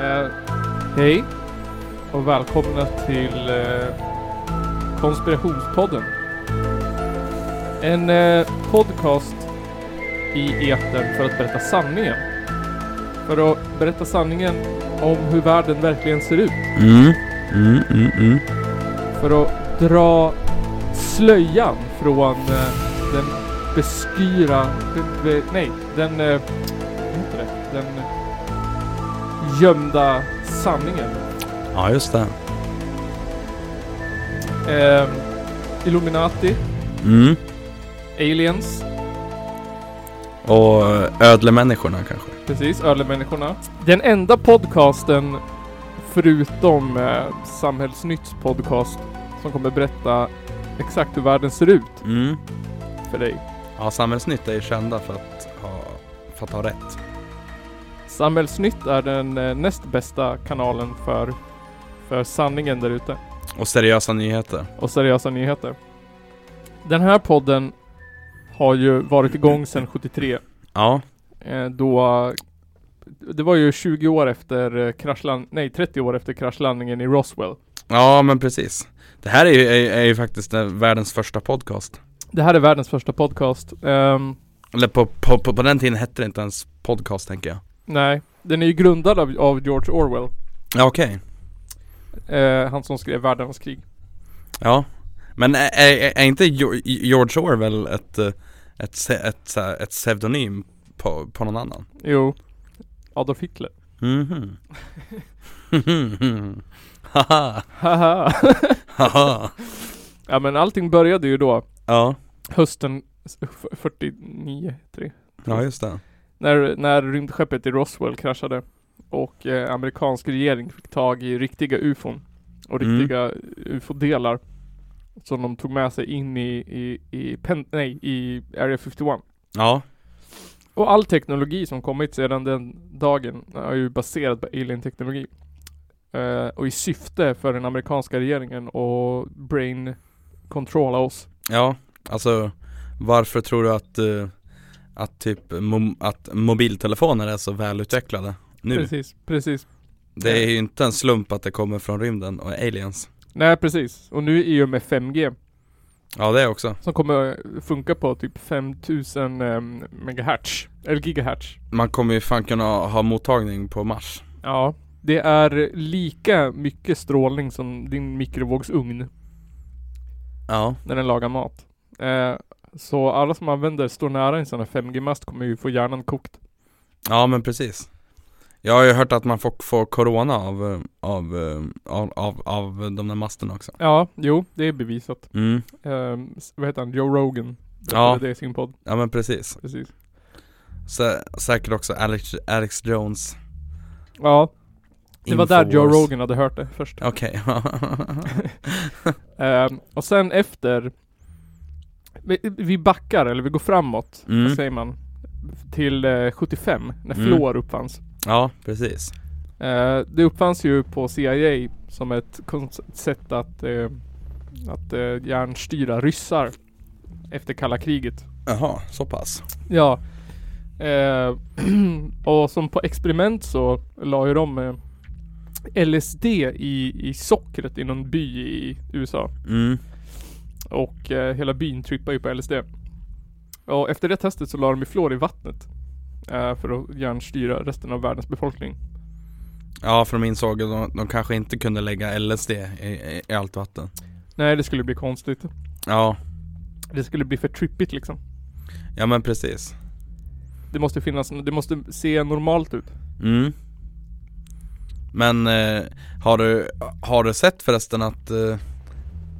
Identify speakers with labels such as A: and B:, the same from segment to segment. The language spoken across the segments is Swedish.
A: Eh, Hej och välkomna till eh, Konspirationspodden. En eh, podcast i etern för att berätta sanningen. För att berätta sanningen om hur världen verkligen ser ut.
B: Mm, mm, mm, mm.
A: För att dra slöjan från eh, den beskyra... be- be- Nej, den... eh, Vad heter det? Den gömda sanningen.
B: Ja, just det.
A: Ehm, Illuminati,
B: Mm.
A: aliens,
B: Och ödlemänniskorna kanske.
A: precis, ödlemänniskorna. Den enda podcasten förutom eh, Samhällsnytts podcast som kommer berätta exakt hur världen ser ut
B: Mm.
A: för dig.
B: Ja, Samhällsnytt är ju kända för att ha, för att ha rätt.
A: Samhällsnytt är den eh, näst bästa kanalen för, för sanningen där ute
B: Och seriösa nyheter.
A: och seriösa nyheter. Den här podden har ju varit igång sedan 73
B: Ja,
A: Eh, då det var ju 20 år efter eh, kraschland, nej 30 år efter kraschlandningen i Roswell.
B: ja men precis. Det här är ju, är, är ju faktiskt eh, världens första podcast.
A: Det här är världens första podcast. Ehm,
B: Eller på, på, på, på den tiden hette det inte ens podcast tänker jag.
A: nej, den är ju grundad av, av George Orwell.
B: Ja, okej.
A: Eh, han som skrev Världens krig.
B: Ja. Men eh, är, är, är inte Jo- George Orwell ett, eh, ett, se- ett, så här- ett pseudonym på, på någon annan?
A: Jo, Adolf Hitler.
B: Mhm. Haha.
A: Haha.
B: Haha.
A: ja men allting började ju då,
B: Ja.
A: hösten s- f- 49, 3.
B: Ja just det.
A: När, när rymdskeppet i Roswell kraschade och eh, amerikansk regering fick tag i riktiga ufon och
B: Mm.
A: riktiga ufo-delar som de tog med sig in i, i, i, pen, nej, i Area 51.
B: Ja.
A: Och all teknologi som kommit sedan den dagen är ju baserad på alien-teknologi. Eh, och i syfte för den amerikanska regeringen att brain controlla oss.
B: Ja. Alltså varför tror du att, eh, att typ mo- att mobiltelefoner är så välutvecklade nu?
A: Precis, precis.
B: Det är ju inte en slump att det kommer från rymden och aliens.
A: Nej precis. Och nu är ju med 5G.
B: Ja det också.
A: Som kommer funka på typ 5000 um, megahertz. Eller gigahertz.
B: Man kommer ju fan kunna ha mottagning på Mars.
A: Ja. Det är lika mycket strålning som din mikrovågsugn
B: Ja.
A: när den lagar mat. Eh, så alla som använder, står nära en sån här 5G-mast kommer ju få hjärnan kokt.
B: Ja men precis. Jag har ju hört att man får, får corona av, eh, av, eh, av, av, av de där masterna också.
A: Ja, jo, det är bevisat.
B: Mm.
A: Eh, s- vad heter han? Joe Rogan.
B: Ja.
A: Det är sin podd,
B: Ja men precis.
A: precis.
B: Sä säkert också Alex, Alex Jones
A: Ja, det var där Joe
B: Infowars.
A: Rogan hade hört det först.
B: Okej
A: Ehm, och sen efter vi, vi backar, eller vi går framåt,
B: Mm.
A: vad säger man? Till eh, 75, när
B: Mm.
A: fluor uppfanns.
B: Ja, precis
A: Eh, det uppfanns ju på CIA som ett konce- sätt att, eh, att eh, järnstyra ryssar efter kalla kriget.
B: Jaha, så pass
A: Ja. Eh, och som på experiment så la ju de eh, LSD i, i sockret i någon by i USA.
B: mm.
A: Och eh, hela byn trippar ju på LSD. Och efter det testet så la de ju fluor i vattnet. Eh, för att hjärnstyra resten av världens befolkning.
B: Ja, för de insåg att de, de kanske inte kunde lägga LSD i, i, i allt vatten
A: Nej det skulle bli konstigt.
B: Ja,
A: Det skulle bli för trippigt liksom.
B: ja men precis
A: Det måste finnas, det måste se normalt ut.
B: mm. Men eh, har, du, har du sett förresten att eh,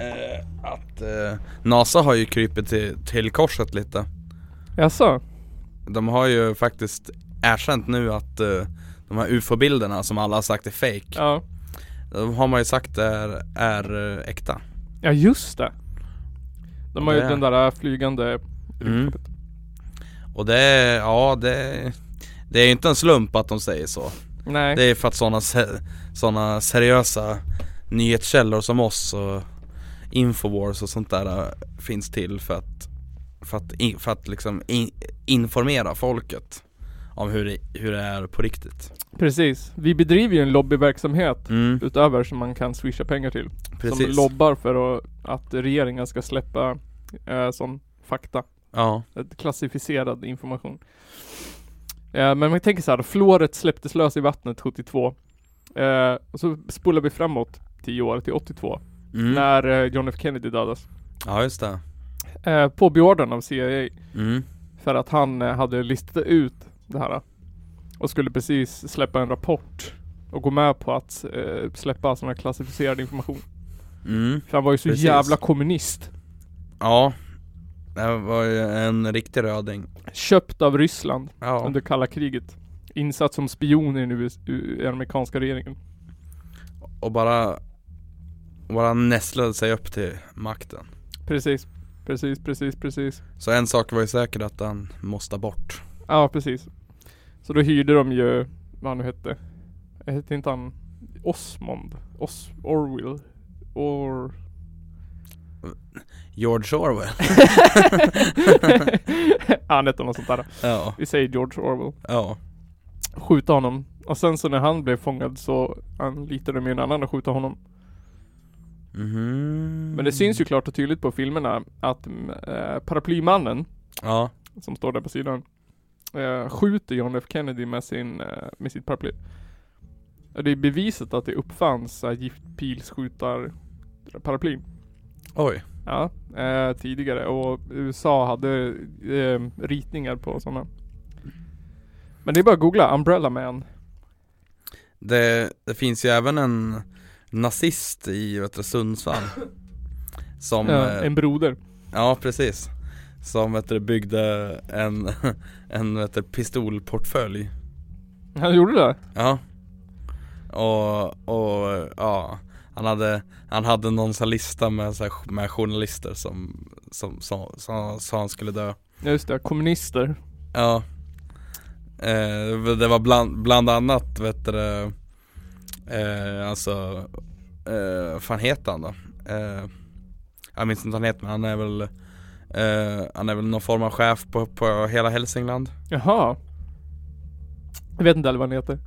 B: eh, Att eh, NASA har ju krypit till, till korset lite
A: Jaså?
B: De har ju faktiskt erkänt nu att eh, de här UFO-bilderna som alla har sagt är fake
A: Ja.
B: De har man ju sagt är, är eh, äkta
A: Ja just det. De har ju
B: Det är-
A: den där äh, flygande
B: Mm. Och det, är- ja det Det är inte en slump att de säger så
A: Nej.
B: Det är för att sådana såna seriösa nyhetskällor som oss och Infowars och sånt där eh, finns till för att För att, in, för att liksom in, informera folket om hur det, hur det är på riktigt.
A: Precis. Vi bedriver ju en lobbyverksamhet
B: Mm,
A: utöver som man kan swisha pengar till. Som
B: precis.
A: lobbar för att, att regeringen ska släppa eh, sån fakta.
B: ja,
A: ett klassificerad information. Eh, men man tänker så här, fluoret släpptes lös i vattnet 72. Eh, och så spolar vi framåt 10 år till 82
B: mm.
A: när eh, John F Kennedy dödas.
B: ja just det.
A: Eh, på beordran av CIA
B: Mm.
A: för att han eh, hade listat ut det här. eh, Och skulle precis släppa en rapport och gå med på att eh, släppa sån här klassificerad information.
B: Mm.
A: För han var ju så
B: Precis.
A: jävla kommunist.
B: Ja, det var ju en riktig röding.
A: Köpt av Ryssland
B: Ja.
A: under kalla kriget. Insatt som spion i den US- i den amerikanska regeringen.
B: Och bara, bara nässlade sig upp till makten.
A: Precis, precis, precis, precis.
B: Så en sak var ju säker att han måste bort.
A: Ja, precis. Så då hyrde de ju, vad han nu hette. Jag hette inte han Osmond? Os Orwell? Or...
B: George Orwell.
A: han hette något sånt där.
B: Ja.
A: Vi säger George Orwell.
B: Ja.
A: Skjuta honom. Och sen så när han blev fångad så anlitade de ju en annan att skjuta honom.
B: Mhm.
A: Mm. Men det syns ju klart och tydligt på filmerna att mm, eh, paraplymannen
B: Ja.
A: som står där på sidan eh, skjuter John F Kennedy med, sin, eh, med sitt paraply. Och det är beviset att det uppfanns eh, giftpilsskjutarparaply.
B: Oj.
A: Ja, eh, tidigare och USA hade eh, ritningar på sådana. Men det är bara att googla Umbrella Man.
B: Det, det finns ju även en nazist i vet du, Sundsvall. Som,
A: Eh,
B: eh,
A: en broder.
B: ja precis. Som vet du, byggde en, en vet du, pistolportfölj.
A: Han gjorde det?
B: Ja Och, och ja han hade, han hade någon sån här lista med, så här, med journalister som som sa som, som han skulle dö
A: Ja just det, kommunister.
B: Ja eh, Det var bland, bland annat vet du, det, eh, Alltså eh, Vad fan heter han då? Eh, jag minns inte vad han heter men han är väl eh, Han är väl någon form av chef på, på hela Hälsingland
A: Jaha. Jag vet inte heller vad han heter.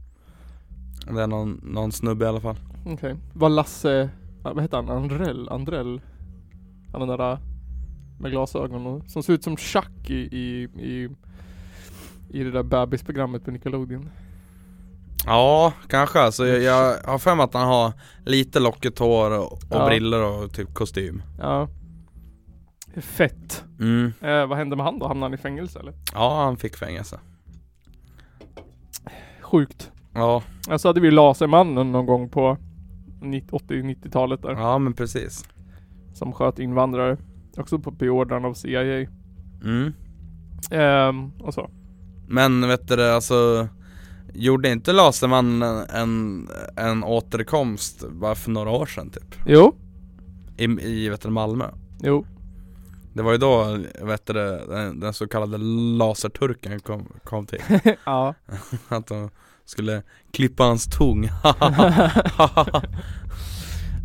B: Det är någon, någon snubbe i alla fall
A: Okej. Var Lasse, ja, vad heter han? Andrell? Andrell? Han den där med glasögon och, som ser ut som Chuck i, i, i, i det där bebisprogrammet på Nickelodeon.
B: Ja, kanske. Alltså, jag, jag har för mig att han har lite lockigt hår och, och
A: Ja.
B: briller och typ kostym.
A: Ja. Fett.
B: Mm.
A: Eh, vad hände med han då? Hamnade han i fängelse eller?
B: Ja, han fick fängelse.
A: Sjukt.
B: Ja,
A: Ja, så Alltså, hade vi Lasermannen någon gång på 90 80-90-talet där.
B: ja men precis.
A: Som sköt invandrare. Också på beordran av CIA.
B: Mm.
A: Ehm, och så.
B: Men vet du det, alltså Gjorde inte Lasermannen en, en återkomst bara för några år sedan typ?
A: Jo.
B: I, i vet du, Malmö?
A: Jo.
B: Det var ju då vet du, det, den, den så kallade laserturken kom, kom till
A: ja.
B: Att de skulle klippa hans tung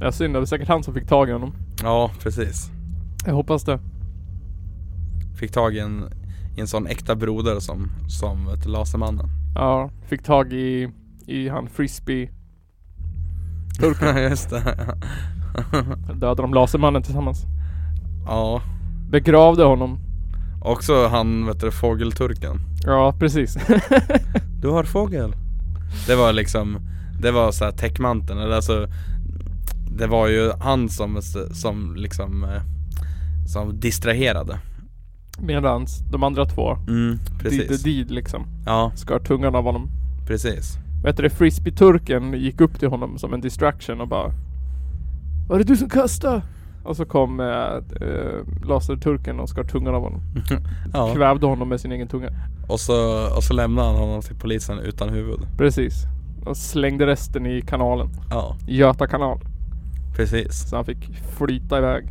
A: Det är synd, det var säkert han som fick tag i honom.
B: Ja precis
A: Jag hoppas det.
B: Fick tag i en, i en sån äkta broder som, som vet, du, Lasermannen
A: Ja, fick tag i, i han frisbee.
B: Just det
A: Dödade de Lasermannen tillsammans.
B: Ja
A: Begravde honom.
B: Också han vet du fågelturken
A: Ja, precis.
B: Du har fågel Det var liksom Det var så här täckmanteln eller alltså Det var ju han som, som liksom eh, Som distraherade
A: Medans de andra två.
B: Mm,
A: Precis.
B: precis
A: Did liksom.
B: Ja,
A: Skar tungan av honom.
B: precis
A: Vet du det? Frisbee-turken gick upp till honom som en distraction och bara Var det du som kastade? Och så kom eh, eh, laserturken och skar tungan av honom.
B: Ja,
A: Kvävde honom med sin egen tunga.
B: och så, och så lämnade han honom till polisen utan huvud
A: Precis. Och slängde resten i kanalen.
B: Ja,
A: Göta kanal.
B: precis
A: Så han fick flyta iväg.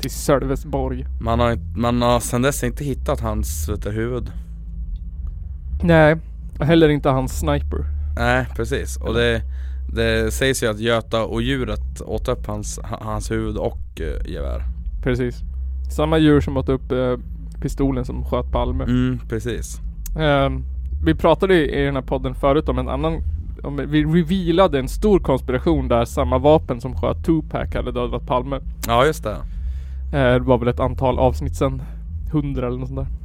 A: Till Sölvesborg.
B: Man har, inte- man har sen dess inte hittat hans vet du, huvud.
A: Nej, och heller inte hans sniper.
B: Nej precis, och det, det sägs ju att Göta och djuret åt upp hans, ha- hans huvud och eh, gevär.
A: Precis. Samma djur som åt upp eh, pistolen som sköt Palme.
B: Mm, precis.
A: Ehm, vi pratade ju i den här podden förut om en annan om, Vi revealade en stor konspiration där samma vapen som sköt Tupac hade dödat Palme
B: Ja just det.
A: Eh, Det var väl ett antal avsnitt sen 100 eller något sånt där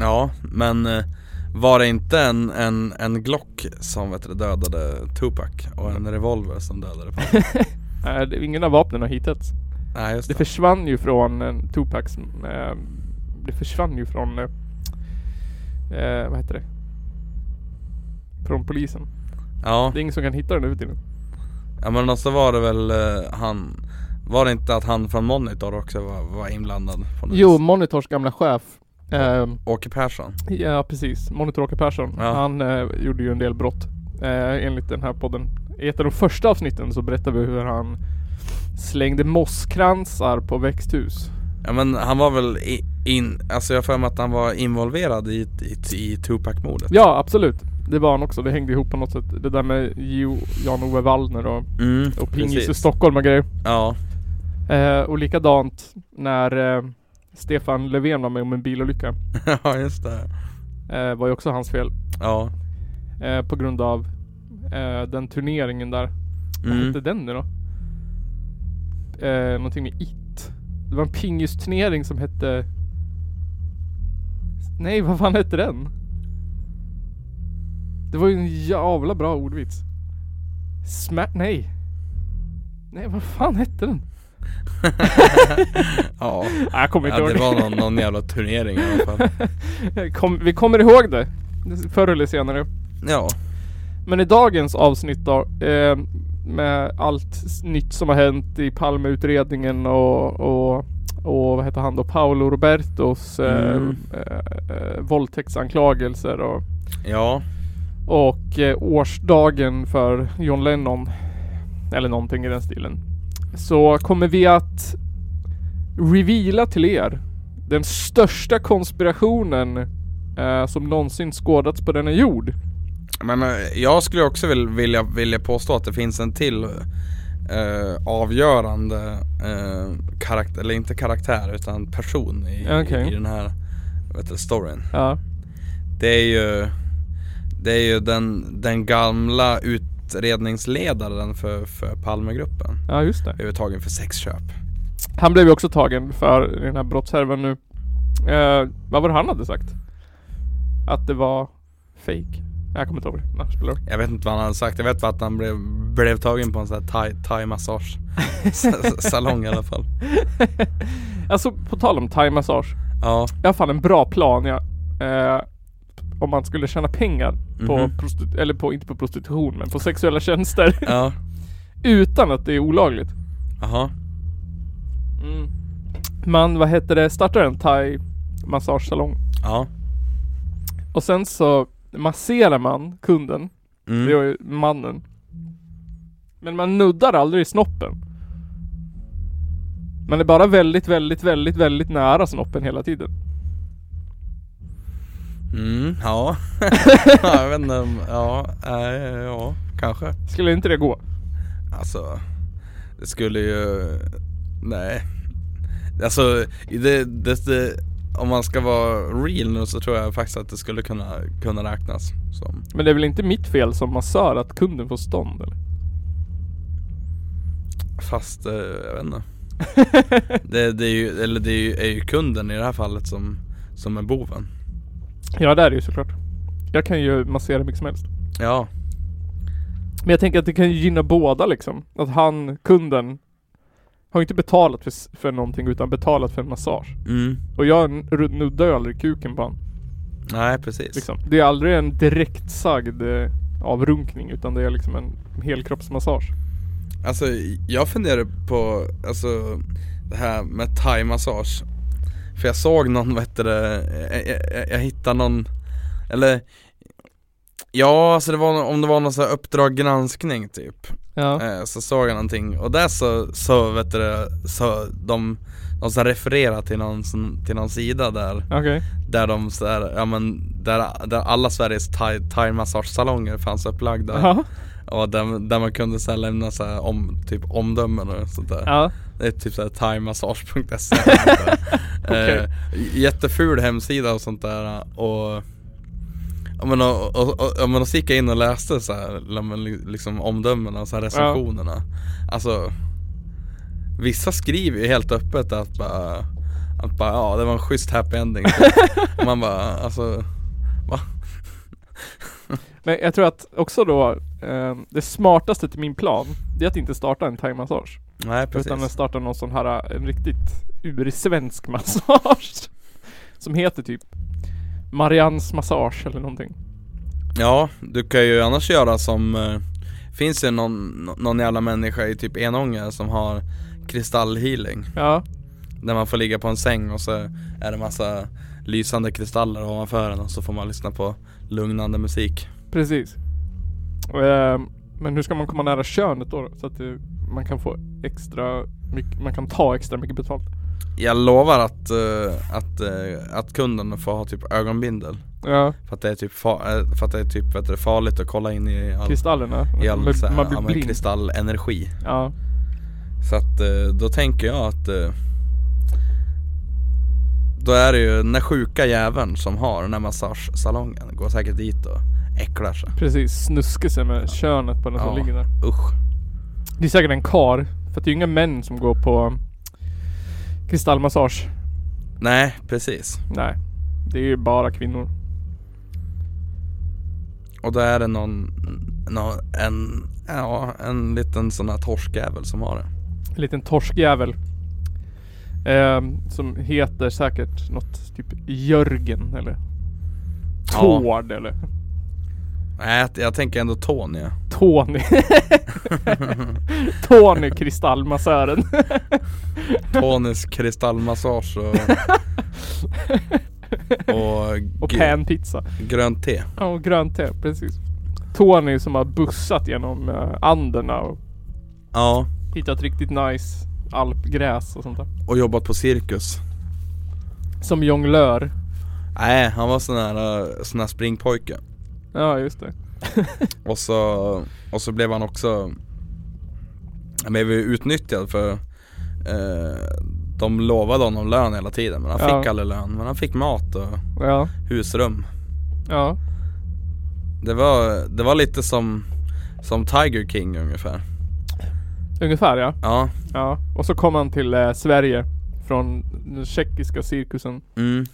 B: Ja men eh, var det inte en, en, en Glock som vet du, dödade Tupac och en revolver som dödade Palme?
A: Nej, Eh, det- Ingen av vapnen har hittats
B: Nej just
A: Det
B: det.
A: försvann ju från eh, Tupacs eh, Det försvann ju från eh, eh, Vad heter det? Från polisen
B: Ja.
A: Det är ingen som kan hitta den nu för tiden
B: ja men och så var det väl eh, han Var det inte att han från Monitor också var, var inblandad? På något
A: Jo,
B: vis?
A: Monitors gamla chef ehm,
B: Åke Persson?
A: Ja precis, Monitor Åke Persson.
B: Ja.
A: Han eh, gjorde ju en del brott. Eh, enligt den här podden. I ett av de första avsnitten så berättar vi hur han slängde mosskransar på växthus.
B: Ja men han var väl i, in, alltså jag har för mig att han var involverad i, i, i Tupac-mordet
A: Ja absolut. Det var han också. Det hängde ihop på något sätt. Det där med Jo, Jan-Ove Wallner och,
B: mm,
A: och Pingis i
B: precis.
A: Stockholm och grejer.
B: Ja,
A: Eh, och likadant när eh, Stefan Löfven var med om en bilolycka.
B: ja just det
A: Eh, var ju också hans fel.
B: Ja,
A: Eh, på grund av eh, den turneringen där. Vad
B: mm.
A: hette den nu då? Eh, någonting med IT. Det var en pingisturnering som hette... Nej, vad fan hette den? Det var ju en jävla bra ordvits. Smärt... Nej. Nej, vad fan hette den?
B: ja.
A: Ah, jag kommer inte
B: ja
A: ihåg
B: det var någon, någon jävla turnering i alla fall
A: det. Kom, vi kommer ihåg det. Förr eller senare.
B: Ja,
A: Men i dagens avsnitt då, eh, med allt s- nytt som har hänt i Palmeutredningen och, och, och vad heter han då, Paolo Robertos eh,
B: Mm.
A: eh, eh, våldtäktsanklagelser och,
B: ja,
A: och eh, årsdagen för John Lennon, eller någonting i den stilen, så kommer vi att reveala till er den största konspirationen eh, som någonsin skådats på denna jord.
B: men eh, jag skulle också vil, vilja, vilja påstå att det finns en till eh, avgörande eh, karaktär, eller inte karaktär utan person i,
A: Okej.
B: i, i den här vet du, storyn
A: Ja,
B: Det är ju Det är ju den, den gamla utredningsledaren för, för Palmegruppen
A: ja just det.
B: Övertagen för sexköp
A: Han blev ju också tagen för den här brottshärvan nu. Eh, vad var det han hade sagt? Att det var fake. Jag kommer inte ihåg det. Nej, spelar roll.
B: Jag vet inte vad han hade sagt, jag vet bara att han blev, blev tagen på en sån här thai, thai massage Salong i alla fall
A: Alltså på tal om thai-massage.
B: Ja,
A: Jag har fan en bra plan jag. Eh, om man skulle tjäna pengar på
B: Mhm.
A: prostitu- eller på, inte på prostitution men på sexuella tjänster.
B: ja,
A: utan att det är olagligt.
B: jaha Mm.
A: Man, vad heter det, startar en thai-massagesalong.
B: Ja,
A: Och sen så masserar man kunden Det
B: mm.
A: var ju mannen. Men man nuddar aldrig snoppen. Man är bara väldigt, väldigt, väldigt, väldigt nära snoppen hela tiden.
B: Mm, ja Ja, Jag vet inte, om- ja, äh, ja, kanske
A: Skulle inte det gå?
B: Alltså Det skulle ju Nej Alltså det, det, det, Om man ska vara real nu så tror jag faktiskt att det skulle kunna, kunna räknas som
A: Men det är väl inte mitt fel som massör att kunden får stånd eller?
B: Fast eh, jag vet inte Det, det är ju, eller det är ju, är ju kunden i det här fallet som Som är boven
A: ja det är det ju såklart. Jag kan ju massera mycket som helst.
B: Ja
A: Men jag tänker att det kan ju gynna båda liksom. Att han, kunden, har ju inte betalat för, s- för någonting utan betalat för en massage.
B: mm.
A: Och jag n- nuddar ju aldrig kuken på honom.
B: Nej precis
A: Liksom. Det är aldrig en direktsagd eh, avrunkning utan det är liksom en helkroppsmassage.
B: Alltså jag funderar på, alltså det här med thai-massage För jag såg någon, vad heter det, jag, jag, jag hittade någon, eller Ja, alltså det var om det var någon sån här Uppdrag granskning typ
A: Ja.
B: eh, Så såg jag någonting och där så, så vet du det, så de de så här refererar till någon, sån- till någon sida där,
A: Okej.
B: där de så här, ja men där, där alla Sveriges thai- thai-massagesalonger fanns upplagda
A: Ja.
B: Ja, där, där man kunde så här lämna så här om, typ omdömen och sånt där.
A: Ja.
B: Det är typ såhär timemassage.se
A: Okej.
B: eh, Jätteful hemsida och sånt där och Ja men och, och, och, ja, men, och så gick jag in och läste så här, la- men li- liksom omdömena och så här recensionerna Alltså Vissa skriver ju helt öppet att bara Att bara ja det var en schysst happy ending Och Man bara alltså
A: Men jag tror att också då, eh, det smartaste till min plan, det är att inte starta en thaimassage.
B: Nej precis
A: Utan att starta någon sån här, eh, en riktigt ursvensk massage. Som heter typ Marians massage eller någonting.
B: Ja, du kan ju annars göra som eh, Finns det någon, någon jävla människa i typ Enånger som har kristallhealing
A: Ja,
B: Där man får ligga på en säng och så är det massa lysande kristaller ovanför en och så får man lyssna på lugnande musik
A: precis. Eh, men hur ska man komma nära könet då? Så att eh, man kan få extra mycket, man kan ta extra mycket betalt.
B: Jag lovar att, eh, att, eh, att kunden får ha typ ögonbindel
A: Ja,
B: För att det är typ, fa- eh, för att det är typ vet du, farligt att kolla in i all,
A: kristallerna.
B: i all
A: Man-
B: så här,
A: man
B: ja,
A: blir
B: men
A: blind.
B: kristallenergi
A: Ja.
B: Så att eh, då tänker jag att eh, Då är det ju den där sjuka jäveln som har den här massagesalongen Går säkert dit och äcklar sig
A: Precis, snuska sig med könet på den som
B: Ja.
A: ligger där.
B: Usch
A: Det är säkert en kar För att det är ju inga män som går på kristallmassage.
B: Nej precis
A: Nej. Det är ju bara kvinnor.
B: Och då är det någon, någon en, ja, en liten sån här torskjävel som har det
A: En liten torskjävel. Ehm, som heter säkert något typ Jörgen eller
B: Ja.
A: Tord eller
B: Nej jag- jag tänker ändå Tony
A: Tony. Tony kristallmassören.
B: Tonys kristallmassage och Och,
A: Och
B: gr-
A: panpizza.
B: grönt te
A: Ja och grönt te, precis. Tony som har bussat genom eh, Anderna och
B: Ja
A: hittat riktigt nice alpgräs och sånt där.
B: Och jobbat på cirkus
A: Som jonglör.
B: Nej han var sån här, eh, sån här springpojke
A: Ja just det.
B: Och så, och så blev han också Han blev ju utnyttjad för eh, De lovade honom lön hela tiden men han
A: Ja.
B: fick aldrig lön Men han fick mat och
A: Ja.
B: husrum
A: Ja.
B: Det var, det var lite som, som Tiger King ungefär
A: Ungefär ja.
B: Ja,
A: Ja. Och så kom han till eh, Sverige. Från den tjeckiska cirkusen.
B: mm,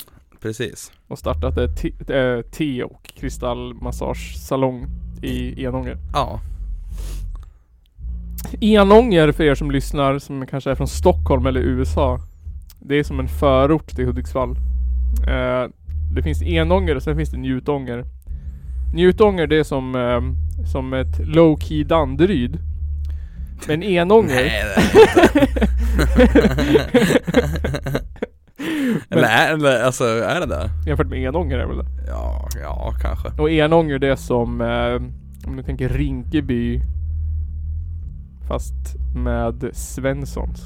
B: precis
A: Och startade te, eh, te och kristallmassagesalong i Enånger.
B: Ja,
A: Enånger för er som lyssnar som kanske är från Stockholm eller USA. Det är som en förort till Hudiksvall. Eh, det finns Enånger och sen finns det Njutånger. Njutånger det är som, eh, som ett low key Danderyd. Men Enånger,
B: nej det är det inte Eller, är, eller alltså, är det där?
A: jämfört med Enånger är väl det.
B: Ja, ja kanske
A: Och Enånger det är som, eh, om du tänker Rinkeby. Fast med Svenssons.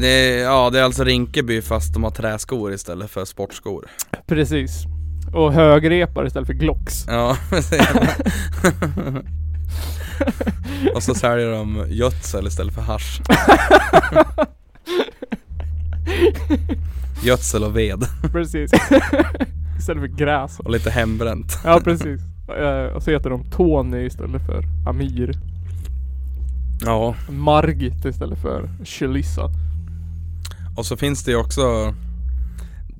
B: det är, Ja, det är alltså Rinkeby fast de har träskor istället för sportskor
A: Precis. Och högrepar istället för Glocks.
B: Ja, precis Och så säljer de gödsel istället för hasch Gödsel och ved
A: Precis. istället för gräs.
B: och lite hembränt
A: Ja precis. Eh, Och så heter de Tony istället för Amir.
B: Ja,
A: Margit istället för Shelissa.
B: och så finns det ju också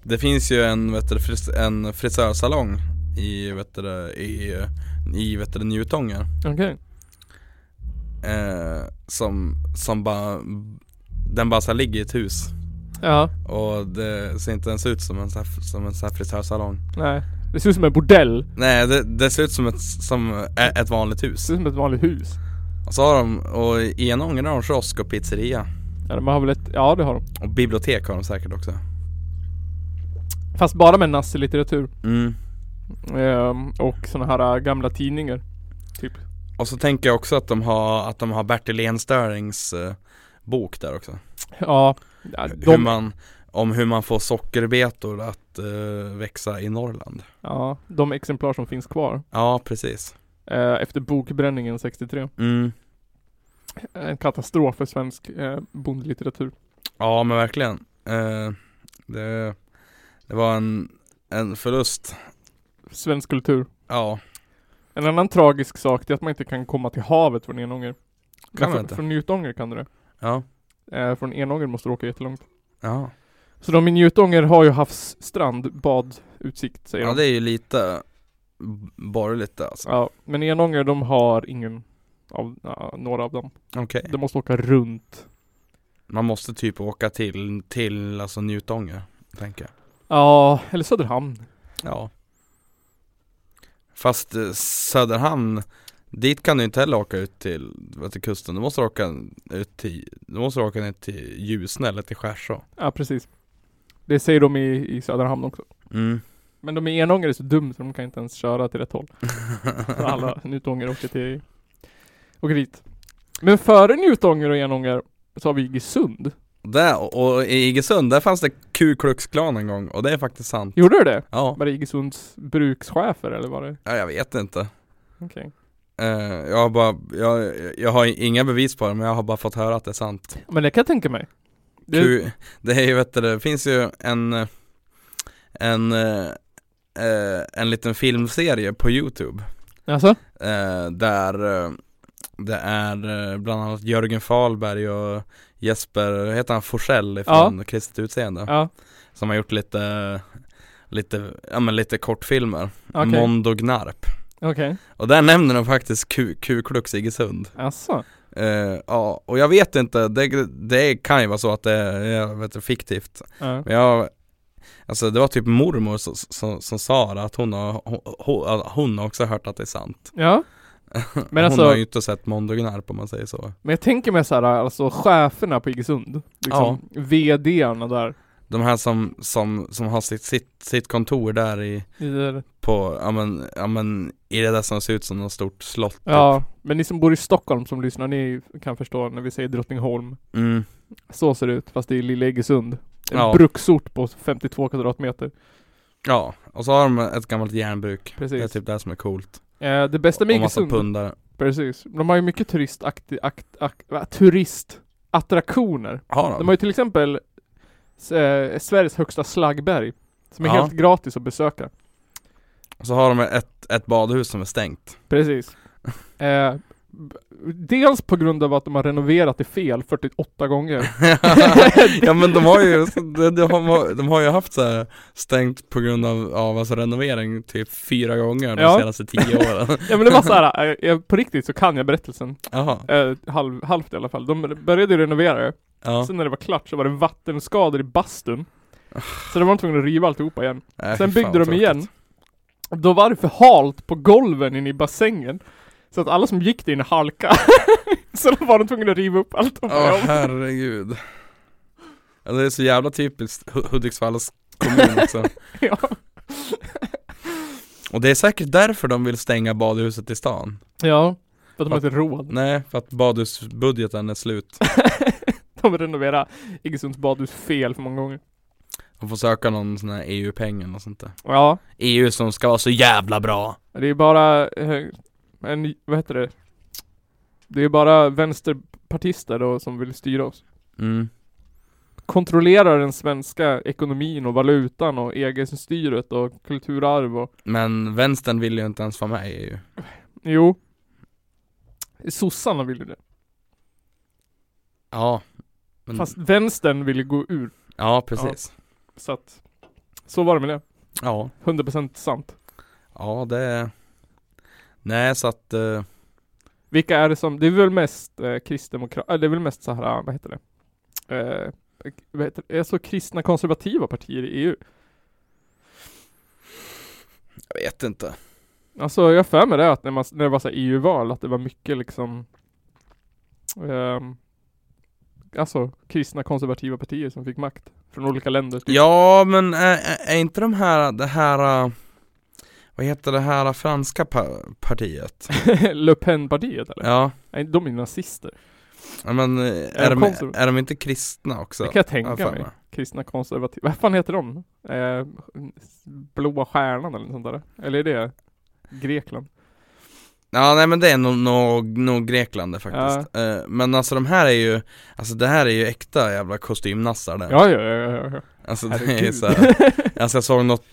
B: Det finns ju en, vet du, fris, en frisörsalong i, vet du, i, i vet du, Njutånger
A: Okej.
B: eh, som, som bara Den bara så här ligger i ett hus
A: Ja.
B: och det ser inte ens ut som en, så här, som en så här frisörsalong
A: Nej. Det ser ut som en bordell.
B: Nej det, det ser ut som ett, som ä- ett vanligt
A: Det
B: hus
A: ser ut som ett vanligt hus.
B: Och så har de, och i en ånger har de kiosk och pizzeria
A: Ja, de har väl ett, ja det har de.
B: Och bibliotek har de säkert också
A: Fast bara med nazi-litteratur.
B: mm.
A: Ehm, och såna här äh, gamla tidningar.
B: Och så tänker jag också att de har, att de har Bertil Enstörings eh, bok där också
A: Ja. ja,
B: hur
A: De,
B: man, Om hur man får sockerbetor att eh, växa i Norrland
A: ja, de exemplar som finns kvar.
B: Ja precis
A: eh, efter bokbränningen 63.
B: mm.
A: En katastrof för svensk eh, bondlitteratur.
B: Ja men verkligen eh, det, Det var en, en förlust.
A: Svensk kultur.
B: Ja,
A: En annan tragisk sak det är att man inte kan komma till havet från Enånger.
B: Kan man
A: från,
B: inte?
A: från Njutånger kan du det.
B: ja,
A: Eh, från Enånger måste du åka jättelångt.
B: ja.
A: Så de i Njutånger har ju havsstrand, badutsikt säger
B: Ja
A: de.
B: det är ju lite b- borgerligt det, alltså.
A: Ja, men Enånger de har ingen av ja, några av dem.
B: Okej.
A: De måste åka runt.
B: Man måste typ åka till, till alltså Njutånger, tänker jag.
A: Ja, eller Söderhamn.
B: Ja. Fast eh, Söderhamn, dit kan du inte heller åka ut till, vad till kusten. Du måste åka ut till, du måste åka ner till Ljusne eller till Skärså.
A: Ja, precis. Det säger de i, i Söderhamn också.
B: Mm.
A: Men de i Enånger är så dum så de kan inte ens köra till rätt håll. Så alla Njutånger åker till... Åker dit. Men före Njutånger och Enånger så har vi Iggesund.
B: Där, och och i Iggesund, där fanns det Ku Klux Klan en gång och det är faktiskt sant.
A: Gjorde du det?
B: Ja,
A: Var det Iggesunds brukschefer eller var det?
B: ja jag vet inte.
A: Okej.
B: Eh, jag har bara, jag, jag har inga bevis på det men jag har bara fått höra att det är sant.
A: Men det kan jag tänka mig. Det-
B: Ku, det är ju vet du, det finns ju en eh, en, eh, eh, en liten filmserie på Youtube
A: Alltså?
B: eh, där eh, det är eh, bland annat Jörgen Fahlberg och Jesper, heter han Forsell ifrån Kristet Utseende?
A: Ja.
B: Som har gjort lite, lite, ja men lite kortfilmer,
A: Okej.
B: Mondo Gnarp
A: Okej.
B: och där nämner de faktiskt Ku, Ku Klux Iggesund
A: Alltså.
B: Eh, Ja, och jag vet inte, det, det kan ju vara så att det är jag vet, inte, fiktivt
A: Ja.
B: Men jag, alltså det var typ mormor som, som, som sa det, att hon har, hon, hon, alltså hon har också hört att det är sant
A: ja. Men
B: Hon har
A: alltså,
B: ju inte sett Mondo Gnarp om man säger så
A: men jag tänker mig såhär, alltså cheferna på Iggesund. Liksom, VDarna där.
B: De här som, som, som har sitt, sitt, sitt kontor där i,
A: I det-
B: på, ja men, ja men i det där som ser ut som något stort slott typ.
A: Ja, Typ. men ni som bor i Stockholm som lyssnar, ni kan förstå när vi säger Drottningholm.
B: typ. mm.
A: Så ser det ut, fast det är lilla Iggesund. En
B: Ja.
A: bruksort på 52 kvadratmeter.
B: Ja, och så har de ett gammalt järnbruk
A: Precis.
B: Det är typ det som är coolt
A: Eh, det bästa med
B: Och massa
A: Iggesund,
B: pundare
A: precis. De har ju mycket turistattraktioner. Akt, akt, va, turistattraktioner.
B: Har de?
A: De har ju till exempel s- eh, Sveriges högsta slaggberg. Som är
B: Ja.
A: helt gratis att besöka.
B: Och så har de ett, ett badhus som är stängt
A: Precis. Eh, b- dels på grund av att de har renoverat det fel 48 gånger.
B: ja men de har ju, de, de, har, de har ju haft så här stängt på grund av, av alltså renovering typ fyra gånger de
A: Ja.
B: senaste tio åren
A: Ja men det var såhär, eh, jag- på riktigt så kan jag berättelsen.
B: Jaha,
A: Eh, halv, halvt i alla fall. De började renovera det.
B: ja
A: Sen när det var klart så var det vattenskador i bastun. Så de var tvungna att riva alltihopa igen.
B: Nej,
A: Sen
B: Äh, fy fan,
A: byggde de
B: vad
A: igen.
B: tråkigt.
A: Och Då var det för halt på golven inne i bassängen. Så att alla som gick där inne halkade. så då var de tvungna att riva upp allt och
B: Ja
A: börja om.
B: herregud ja, Det är så jävla typiskt Hu- Hudiksvalls kommun också
A: Ja.
B: Och det är säkert därför de vill stänga badhuset i stan
A: ja. För att de har inte råd.
B: Nej, för att badhusbudgeten är slut
A: De renoverade Iggesunds badhus fel för många gånger.
B: De får söka någon sån här EU-peng eller något sånt där
A: Ja.
B: EU som ska vara så jävla bra
A: Det är bara eh, en, vad heter det? Det är bara vänsterpartister då som vill styra oss.
B: mm.
A: Kontrollerar den svenska ekonomin och valutan och EG-styret och kulturarv och
B: Men vänstern vill ju inte ens vara med i E EU
A: Jo. Sossarna vill ju det.
B: Ja men,
A: Fast vänstern vill ju gå ur.
B: Ja precis
A: Så att, så var det med det.
B: Ja
A: 100% sant.
B: Ja det Nej så att eh,
A: Vilka är det som, det är väl mest eh, kristdemokrat, eller det är väl mest så här, vad heter det? Eh, vad heter det? Är så kristna konservativa partier i E EU?
B: Jag vet inte
A: Alltså jag har för mig det att när, man, när det var så här EU-val att det var mycket liksom ehm, Alltså kristna konservativa partier som fick makt från olika länder. typ.
B: Ja men är, är- är inte de här Det här eh, Vad heter det här franska pa- partiet?
A: Le Pen-partiet eller?
B: Ja
A: Nej, de är ju nazister.
B: ja, men eh,
A: de
B: är de,
A: konserv-
B: är de inte kristna också?
A: Det kan jag
B: Har jag
A: tänka
B: för
A: mig. Kristna konservativa. Vad fan heter de? Eh, Blåa stjärnan eller något sånt där? Eller är det Grekland?
B: Ja nej men det är nog nog nog Grekland det faktiskt Eh, Men alltså de här är ju Alltså det här är ju äkta jävla kostymnassar där
A: Ja, ja, ja, ja, ja.
B: Alltså det är
A: Herregud.
B: så här, alltså jag såg något,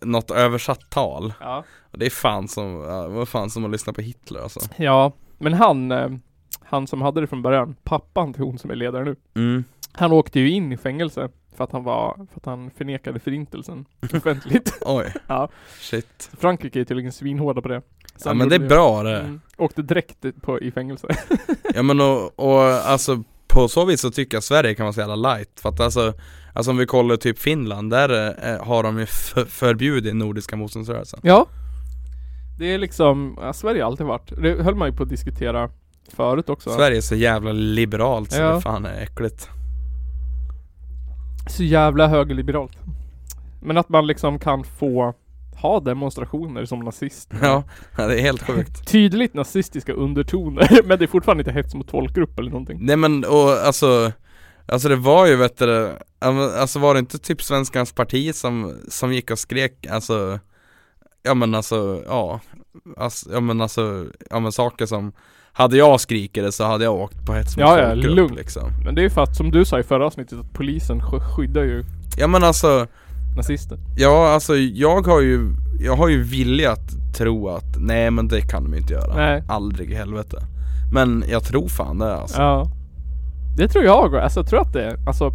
B: något översatt tal
A: ja.
B: och det är fan som, ja, vad fan som att lyssna på Hitler alltså
A: ja, men han, eh, han som hade det från början, pappan till hon som är ledare nu.
B: mm.
A: Han åkte ju in i fängelse för att han var, för att han förnekade förintelsen offentligt.
B: Oj,
A: Ja.
B: shit
A: Frankrike är tydligen svinhårda på det. Så
B: Ja
A: han
B: men det
A: gjorde
B: är bra det
A: Mm. Åkte direkt på, i fängelse.
B: Ja men och, och alltså på så vis så tycker jag Sverige kan vara så jävla light för att alltså Alltså om vi kollar typ Finland, där eh, har de ju f- förbjudit Nordiska motståndsrörelsen
A: Ja. Det är liksom, ja, Sverige har alltid varit, det höll man ju på att diskutera förut också.
B: Sverige är så jävla liberalt så
A: Ja.
B: det fan är äckligt
A: Så jävla högerliberalt. Men att man liksom kan få ha demonstrationer som nazist.
B: Ja, det är helt sjukt
A: Tydligt nazistiska undertoner, men det är fortfarande inte hets mot folkgrupp eller någonting.
B: Nej men och alltså Alltså det var ju vet du, ja, men, alltså var det inte typ Svenskans parti som, som gick och skrek alltså Ja men alltså, ja alltså, Ja men alltså, ja men saker som Hade jag skrikit det så hade jag åkt på hets mot
A: Ja, ja,
B: folkgrupp,
A: lugnt.
B: liksom
A: Men det är ju för att, som du sa i förra avsnittet, att polisen sk- skyddar ju
B: Ja men alltså,
A: nazister.
B: ja alltså jag har ju Jag har ju viljat tro att, nej men det kan de inte göra
A: Nej.
B: Aldrig i helvete Men jag tror fan det alltså
A: Ja. Det tror jag alltså jag tror att det är, alltså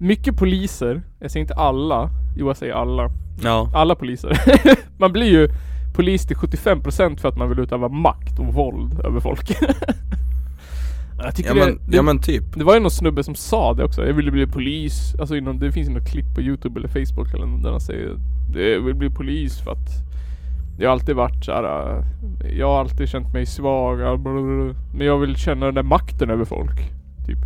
A: Mycket poliser, jag säger inte alla, jo jag säger alla
B: Ja,
A: alla poliser. man blir ju polis till 75% för att man vill utöva makt och våld över folk. jag tycker
B: ja men,
A: det, det,
B: ja, men typ
A: det var ju någon snubbe som sa det också. Jag ville bli polis. Alltså inom, det finns ju något klipp på youtube eller facebook eller något där han säger Jag vill bli polis för att jag har alltid varit såhär äh, Jag har alltid känt mig svag. äh, blablabla. Men jag vill känna den där makten över folk. Typ.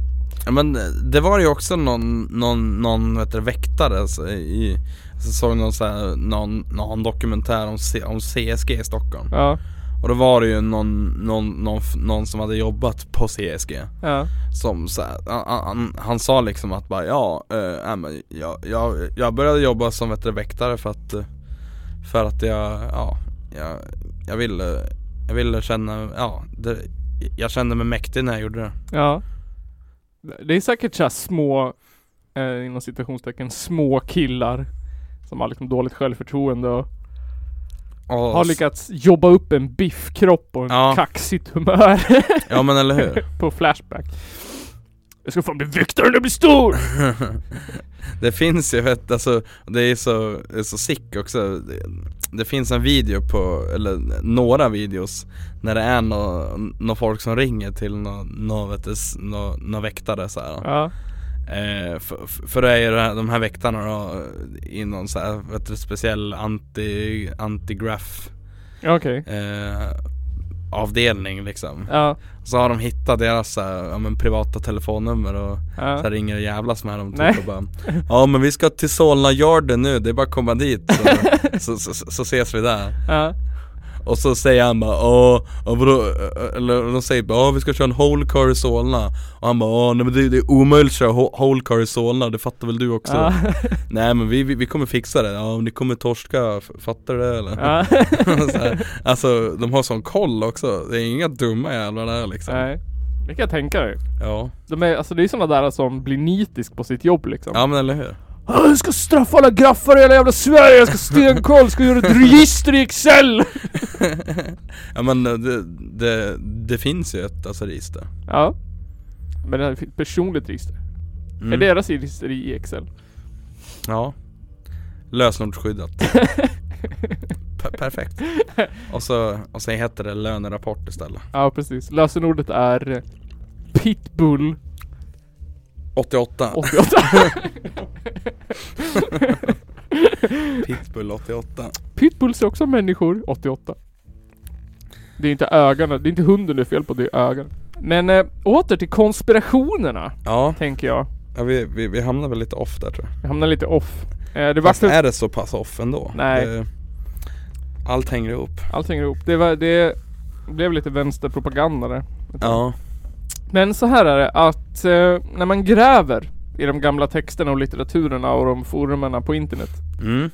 B: Ja men eh, det var ju också någon, någon, någon vet du, väktare alltså, i alltså, såg någon, så här, någon, någon dokumentär om, C, om CSG i Stockholm
A: Ja.
B: Och då var det ju någon, någon, någon, f- någon som hade jobbat på CSG
A: Ja.
B: Som så här, han, han, han sa liksom att bara ja, eh, äh, men jag, jag, jag började jobba som vet du, väktare för att eh, För att jag, ja, jag, jag ville, jag ville känna, ja, det, jag kände mig mäktig när jag gjorde det
A: Ja. Det är säkert så här små, eh, inom citationstecken, små killar som har liksom dåligt självförtroende och
B: Och,
A: har lyckats jobba upp en biffkropp och en
B: Ja.
A: kaxigt humör
B: Ja men eller hur
A: på Flashback. Jag ska fan bli väktare när jag blir stor!
B: Det finns ju, vet, alltså, det är så, det är så sick också det, det finns en video på, eller några videos När det är nå nå folk som ringer till nå nå, vet du, s- nå nå väktare så här.
A: Ja.
B: Eh, för, för det är ju det här- de här väktarna då I någon så här, vet du, speciell anti, anti-graff
A: Ja, Okej.
B: eh, avdelning liksom
A: Ja.
B: Så har de hittat deras så här, ja, men privata telefonnummer och så
A: Ja.
B: ringer och jävlas med dem
A: Nej.
B: typ och bara Ja men vi ska till Solna Garden nu, det är bara att komma dit så, så, så, så ses vi där
A: Ja.
B: Och så säger han bara Åh, ja, vadå? Eller de säger bara "Ja, vi ska köra en whole car i Solna Och han bara "Ja, nej men det, det är omöjligt att köra ho- whole car i Solna, det fattar väl du också?
A: Ja.
B: Nej men vi, vi, vi kommer fixa det, ja ni kommer torska, f- fattar du det eller?
A: Ja.
B: så här, alltså de har sån koll också, det är inga dumma jävlar där liksom
A: Nej. Det kan jag tänka dig.
B: Ja,
A: De är, alltså det är sådana där som blir nitisk på sitt jobb liksom.
B: ja men eller hur?
A: "Ah, Jag ska straffa alla graffar i hela jävla Sverige, jag ska stenkoll, ska göra ett register i Excel!
B: Ja men eh, det, det, det finns ju ett alltså, register
A: Ja. Men det här är ett personligt register.
B: Mm.
A: Är deras register i Excel?
B: Ja Lösenordsskyddat P- Perfekt och så, och så heter det lönerapport istället
A: Ja precis. Lösenordet är eh, Pitbull
B: 88
A: 88.
B: Pitbull 88
A: Pitbulls är också människor, 88. Det är inte ögonen, det är inte hunden det är fel på, det är ögonen. Men eh, åter till konspirationerna,
B: Ja,
A: tänker jag.
B: ja vi, vi, vi hamnar väl lite off där tror jag
A: Jag hamnar lite off. Eh, det var
B: Fast är det så pass off ändå?
A: Nej.
B: Det, allt hänger ihop
A: Allt hänger ihop. Det, var, det blev lite vänsterpropaganda där.
B: Ja
A: Men så här är det att eh, när man gräver i de gamla texterna och litteraturerna och de forumerna på internet.
B: mm.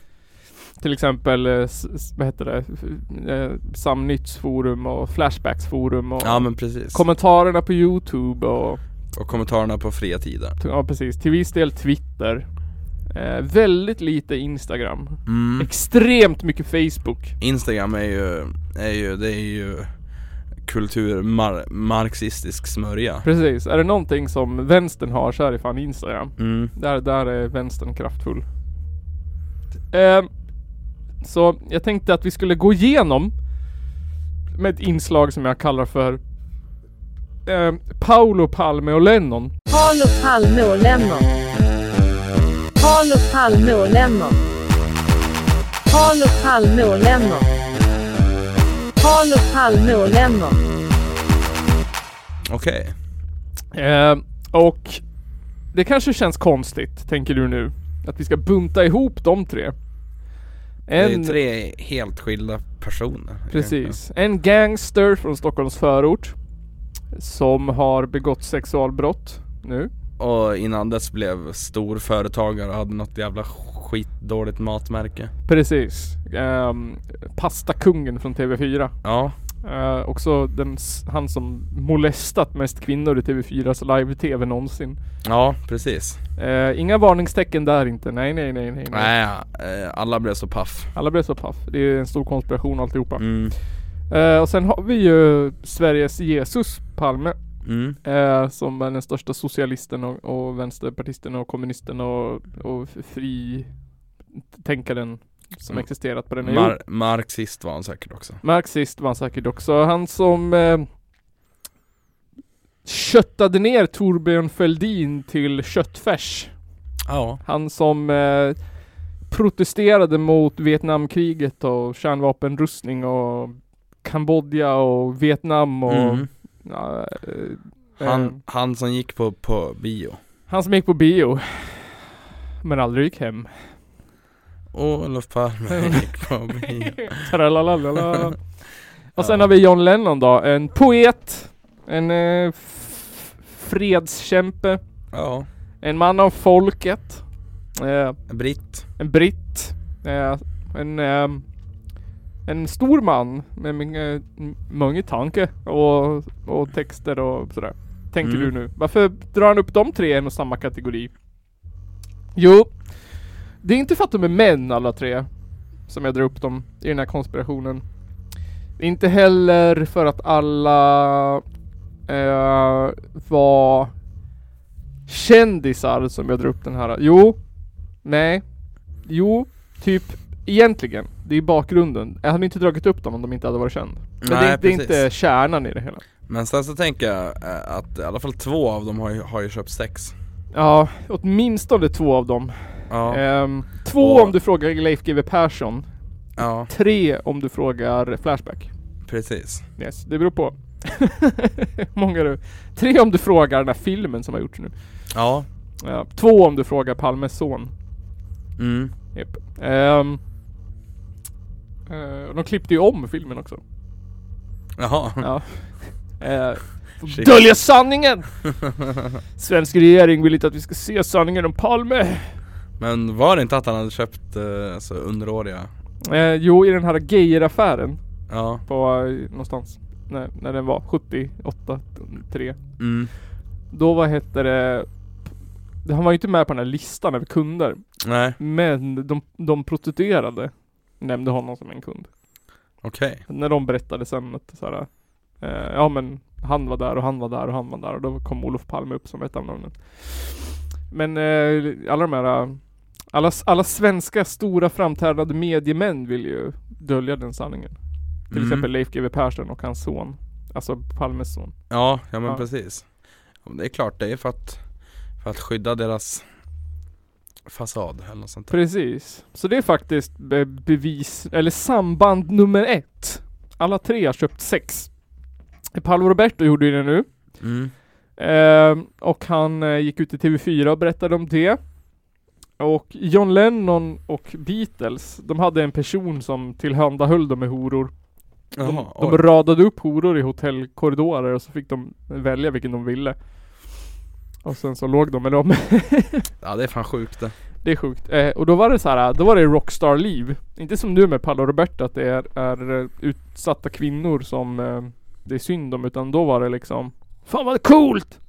A: Till exempel, eh, s- s- vad heter det, F- eh, Samnytts forum och Flashbacks forum och
B: Ja men precis
A: kommentarerna på Youtube och
B: Och kommentarerna på fria tider
A: ja, precis, till viss del Twitter. Eh, väldigt lite Instagram.
B: Mm.
A: Extremt mycket Facebook.
B: Instagram är ju, är ju, det är ju kultur, mar- marxistisk smörja
A: Precis. Är det någonting som vänstern har så är det fan Instagram.
B: mm.
A: Där, där är vänstern kraftfull. Ehm, så jag tänkte att vi skulle gå igenom med ett inslag som jag kallar för ehm, Paolo, Palme och Lennon.
C: Paolo Palme och Lennon. Paolo Palme och Lennon. Paolo Palme och Lennon. Paolo Palme och Lennon.
B: Okej,
A: Ehm, och det kanske känns konstigt, tänker du nu, att vi ska bunta ihop de tre.
B: det är
A: En,
B: ju tre helt skilda personer
A: precis, en gangster från Stockholms förort som har begått sexualbrott nu.
B: Och innan dess blev stor företagare och hade något jävla skitdåligt matmärke
A: Precis. Um, Pastakungen från TV4.
B: Ja,
A: Eh, också den, s- han som molestat mest kvinnor i TV4s live-TV någonsin.
B: ja precis
A: Eh, inga varningstecken där inte. Nej, nej, nej, nej. nej.
B: Nej, eh, alla blev så paff
A: Alla blev så paff. Det är en stor konspiration alltihopa.
B: mm.
A: Eh, och sen har vi ju Sveriges Jesus Palme.
B: Mm.
A: Eh, som är den största socialisten och, och vänsterpartisten och kommunisten och, och fri tänkaren som
B: Mm.
A: existerat på den här jorden.
B: Mar- marxist var han säkert också
A: Marxist var han säkert också. Han som eh, köttade ner Torbjörn Fälldin till köttfärs.
B: Ja
A: Han som eh, protesterade mot Vietnamkriget och kärnvapenrustning och Kambodja och Vietnam och
B: mm.
A: ja, eh, eh,
B: han, han som gick på, på bio
A: han som gick på bio. Men aldrig gick hem.
B: Olof Palme gick på bio
A: Tralalalala. Och sen
B: Ja.
A: har vi John Lennon då, en poet, en eh, f- fredskämpe,
B: Ja,
A: en man av folket, eh,
B: britt
A: en britt, eh, en, ehm, en stor man med många- m- många tankar och, och texter och sådär. Tänker
B: Mm.
A: du nu. Varför drar han upp de tre i en och samma kategori? Jo, det är inte för att de är män alla tre som jag drar upp dem i den här konspirationen. Inte heller för att alla eh, var kändisar som jag drar upp den här. Jo, nej, jo, typ egentligen. Det är bakgrunden. Jag hade inte dragit upp dem om de inte hade varit känd. Men det, är- det är
B: precis.
A: inte kärnan i det hela.
B: Men sen så tänker jag eh, att i alla fall två av dem har ju, har ju köpt sex
A: Ja, åtminstone två av dem.
B: Ja,
A: Ehm, två
B: Och-
A: om du frågar Leif GW Persson.
B: ja
A: Tre om du frågar Flashback.
B: precis
A: Yes, det beror på. Hur många du... Tre om du frågar den här filmen som har gjorts nu.
B: Ja,
A: Ja, två om du frågar Palmes son.
B: mm.
A: Japp. Ehm, eh, de klippte ju om filmen också.
B: Jaha
A: Ja. Eh,
B: Shit.
A: Dölja sanningen! Svensk regering vill inte att vi ska se sanningen om Palme.
B: Men var det inte att han hade köpt eh, alltså underåriga?
A: Eh, jo, i den här gayeraffären
B: Ja,
A: på eh, någonstans. När, när den var 78, 3.
B: mm.
A: Då vad hette det? Han var ju inte med på den här listan över kunder.
B: nej,
A: Men de, de prostituerade nämnde honom som en kund.
B: okej
A: När de berättade sen att så här, eh, ja men han var där och han var där och han var där och då kom Olof Palme upp som ett av namnen. Men eh, alla de här, eh, alla, alla svenska stora framträdande mediemän vill ju dölja den sanningen. Till
B: Mm.
A: exempel Leif GW Persson och hans son. Alltså Palmes son.
B: Ja, ja men
A: Ja.
B: precis Ja, men Det är klart, det är för att, för att skydda deras fasad eller något sånt där.
A: Precis. Så det är faktiskt be- bevis, eller samband nummer ett. Alla tre har köpt sex. Paolo Roberto gjorde ju det nu.
B: Mm.
A: Ehm, och han eh, gick ut i TV4 och berättade om det. Och John Lennon och Beatles, de hade en person som tillhandahöll dem med horor. De,
B: Jaha,
A: de
B: oj.
A: radade upp horor i hotellkorridorer och så fick de välja vilken de ville. Och sen så låg de med dem.
B: Ja det är fan sjukt det
A: Det är sjukt. Eh, och då var det så här, då var det rockstar-liv. Inte som nu med Paolo Roberto att det är, är eh, utsatta kvinnor som eh, det är synd om, utan då var det liksom Fan vad coolt!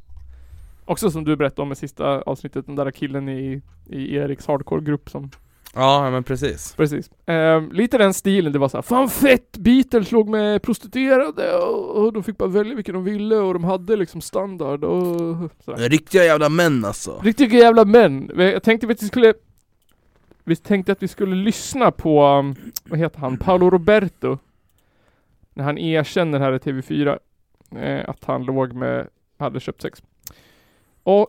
A: Också som du berättade om i sista avsnittet, den där killen i, i Eriks hardcore-grupp som
B: Ja men precis.
A: Precis. Ehm, lite den stilen, det var såhär Fan fett! Beatles låg med prostituerade och, och de fick bara välja vilka de ville och de hade liksom standard och sådär.
B: Riktiga jävla män alltså.
A: Riktiga jävla män! Vi- Jag tänkte att vi skulle Vi tänkte att vi skulle lyssna på, um, vad heter han, Paolo Roberto När han erkänner här i TV4 eh, att han låg med, hade köpt sex. Och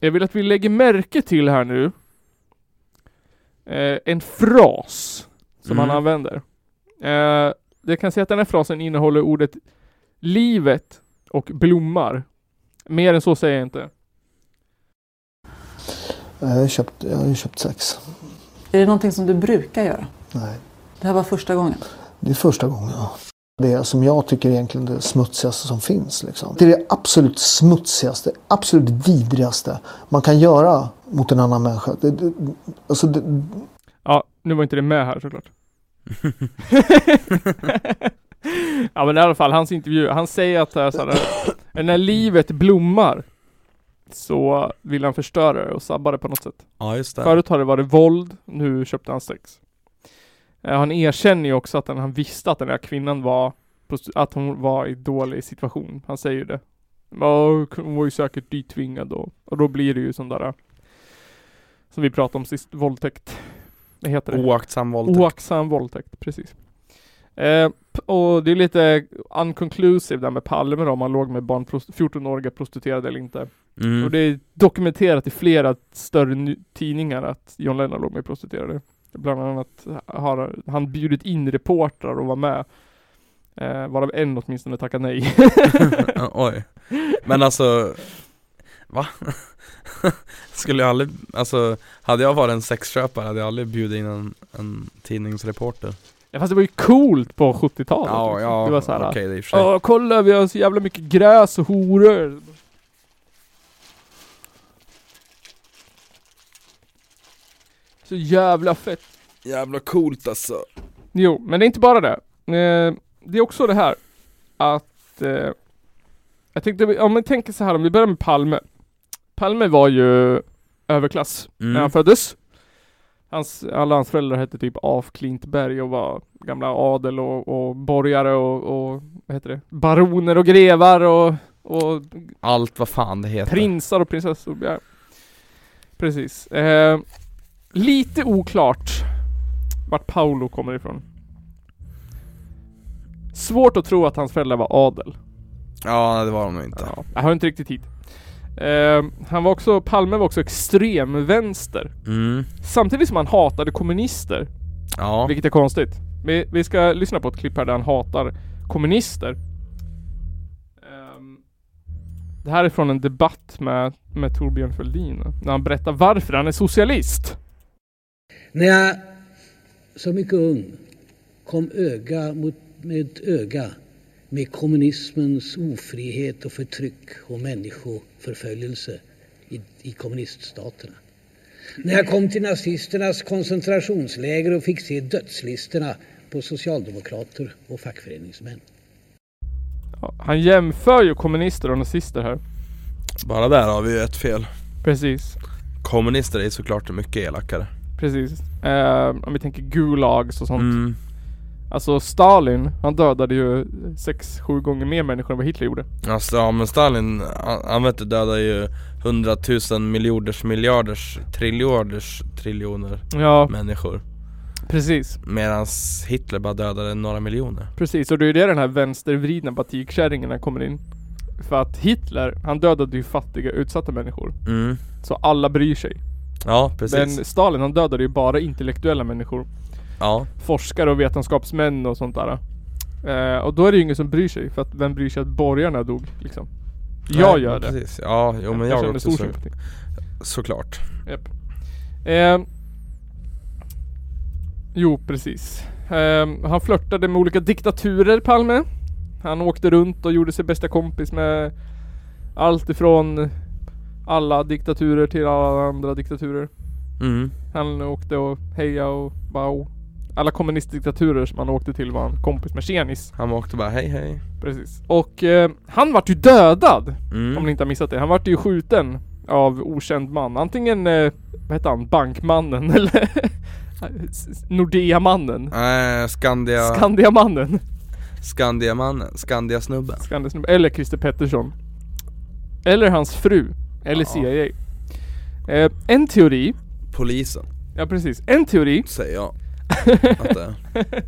A: jag vill att vi lägger märke till här nu eh, en fras som
B: Mm.
A: han använder. Eh, jag kan säga att den här frasen innehåller ordet livet och blommar. Mer än så säger jag inte.
D: Jag har ju köpt, jag har ju köpt sex.
E: Är det någonting som du brukar göra?
D: Nej,
E: Det här var första gången.
D: det är första gången. Ja. Det är som jag tycker egentligen det smutsigaste som finns. Liksom. Det är det absolut smutsigaste, absolut vidrigaste man kan göra mot en annan människa. Det, det, alltså det,
A: Ja, nu var inte det med här såklart. ja men i alla fall, hans intervju. Han säger att det här, så här, när livet blommar så vill han förstöra det och sabba det på något sätt.
B: Ja just det.
A: Förut har det varit våld, nu köpte han sex. Eh, Han erkänner ju också att han, han visste att den här kvinnan var, prosti- att hon var i dålig situation. Han säger ju det. Ja, Hon var ju säkert ditvingad då. Och då blir det ju sån där, eh, som vi pratade om sist, våldtäkt. Vad heter det?
B: Oaktsam våldtäkt.
A: Oaktsam våldtäkt, precis. Eh, p- och det är lite unconclusive där med Palme då, om han låg med barn, prost- 14-åriga prostituerade eller inte.
B: Mm.
A: Och det är dokumenterat i flera större ny- tidningar att John Lennon låg med prostituerade. Bland annat har han bjudit in reportrar och var med. Eh, varav en åtminstone tackade nej.
B: Oj. Men alltså, va? Skulle jag aldrig, alltså hade jag varit en sexköpare hade jag aldrig bjudit in en, en tidningsreporter.
A: Ja, Fast det var ju coolt på 70-talet. liksom. det var såhär,
B: okej det är i och för sig.
A: Åh kolla vi har så jävla mycket gräs och horor. Så jävla fett.
B: Jävla coolt alltså.
A: Jo, men det är inte bara det. Eh, det är också det här att... Eh, jag tänkte, om man tänker så här, om vi börjar med Palme. Palme var ju överklass när
B: Mm.
A: han föddes. Hans, alla hans föräldrar hette typ Af Klintberg och var gamla adel och, och borgare och, och vad heter det? Baroner och grevar och, och
B: Allt vad fan det heter.
A: prinsar och prinsessor. Ja. Precis. Eh, lite oklart vart Paolo kommer ifrån. Svårt att tro att hans föräldrar var adel.
B: Ja nej, det var de nog inte.
A: Ja. Jag har inte riktigt tid. Eh, han var också, Palme var också extremvänster.
B: Mm.
A: Samtidigt som han hatade kommunister,
B: Ja.
A: vilket är konstigt. Vi, vi ska lyssna på ett klipp här där han hatar kommunister. Ehm, det här är från en debatt med, med Torbjörn Fälldin, när han berättar varför han är socialist.
F: När jag som mycket ung kom öga mot, med öga med kommunismens ofrihet och förtryck och människoförföljelse i, i kommuniststaterna. När jag kom till nazisternas koncentrationsläger och fick se dödslistorna på socialdemokrater och fackföreningsmän.
A: Ja, Han jämför ju kommunister och nazister här.
B: Bara där har vi ju ett fel.
A: Precis,
B: Kommunister är såklart mycket elakare.
A: precis. Ehm, om vi tänker gulags och sånt.
B: Mm.
A: Alltså Stalin, han dödade ju sex, sju gånger mer människor än vad Hitler gjorde.
B: Alltså ja men Stalin, han, han vet du dödar ju hundratusen miljarders miljarders triljarders triljoner
A: Ja,
B: människor
A: precis.
B: Medan Hitler bara dödade några miljoner
A: Precis, och det är ju det den här vänstervridna batikkärringarna kommer in. För att Hitler, han dödade ju fattiga utsatta människor.
B: mm.
A: Så alla bryr sig.
B: Ja precis,
A: Men Stalin han dödade ju bara intellektuella människor.
B: ja
A: Forskare och vetenskapsmän och sånt där. Eh, och då är det ju ingen som bryr sig. För att vem bryr sig att borgarna dog liksom? Jag
B: Nej,
A: gör det.
B: precis. Ja, jo men jag,
A: känner
B: också
A: stor
B: så,
A: sympati.
B: såklart
A: Japp. Ehm. jo, precis. Ehm, han flörtade med olika diktaturer, Palme. Han åkte runt och gjorde sig bästa kompis med allt ifrån alla diktaturer till alla andra diktaturer.
B: mm.
A: Han åkte och hejade och wow. alla kommunistdiktaturer som han åkte till var han kompis med tjenis.
B: Han åkte bara hej hej.
A: Precis. Och eh, han vart ju dödad
B: Mm.
A: om ni inte har missat det. Han vart ju skjuten av okänd man. Antingen, eh, vad hette han, Bankmannen eller Nordea-mannen.
B: Eh, Skandia...
A: Skandiamannen.
B: Skandiamannen. Skandiasnubben.
A: Skandisnubbe. Eller Christer Pettersson. Eller hans fru. Eller
B: Ja.
A: CIA. Eh, en teori.
B: Polisen,
A: Ja precis. En teori.
B: säger jag. Att eh, det är.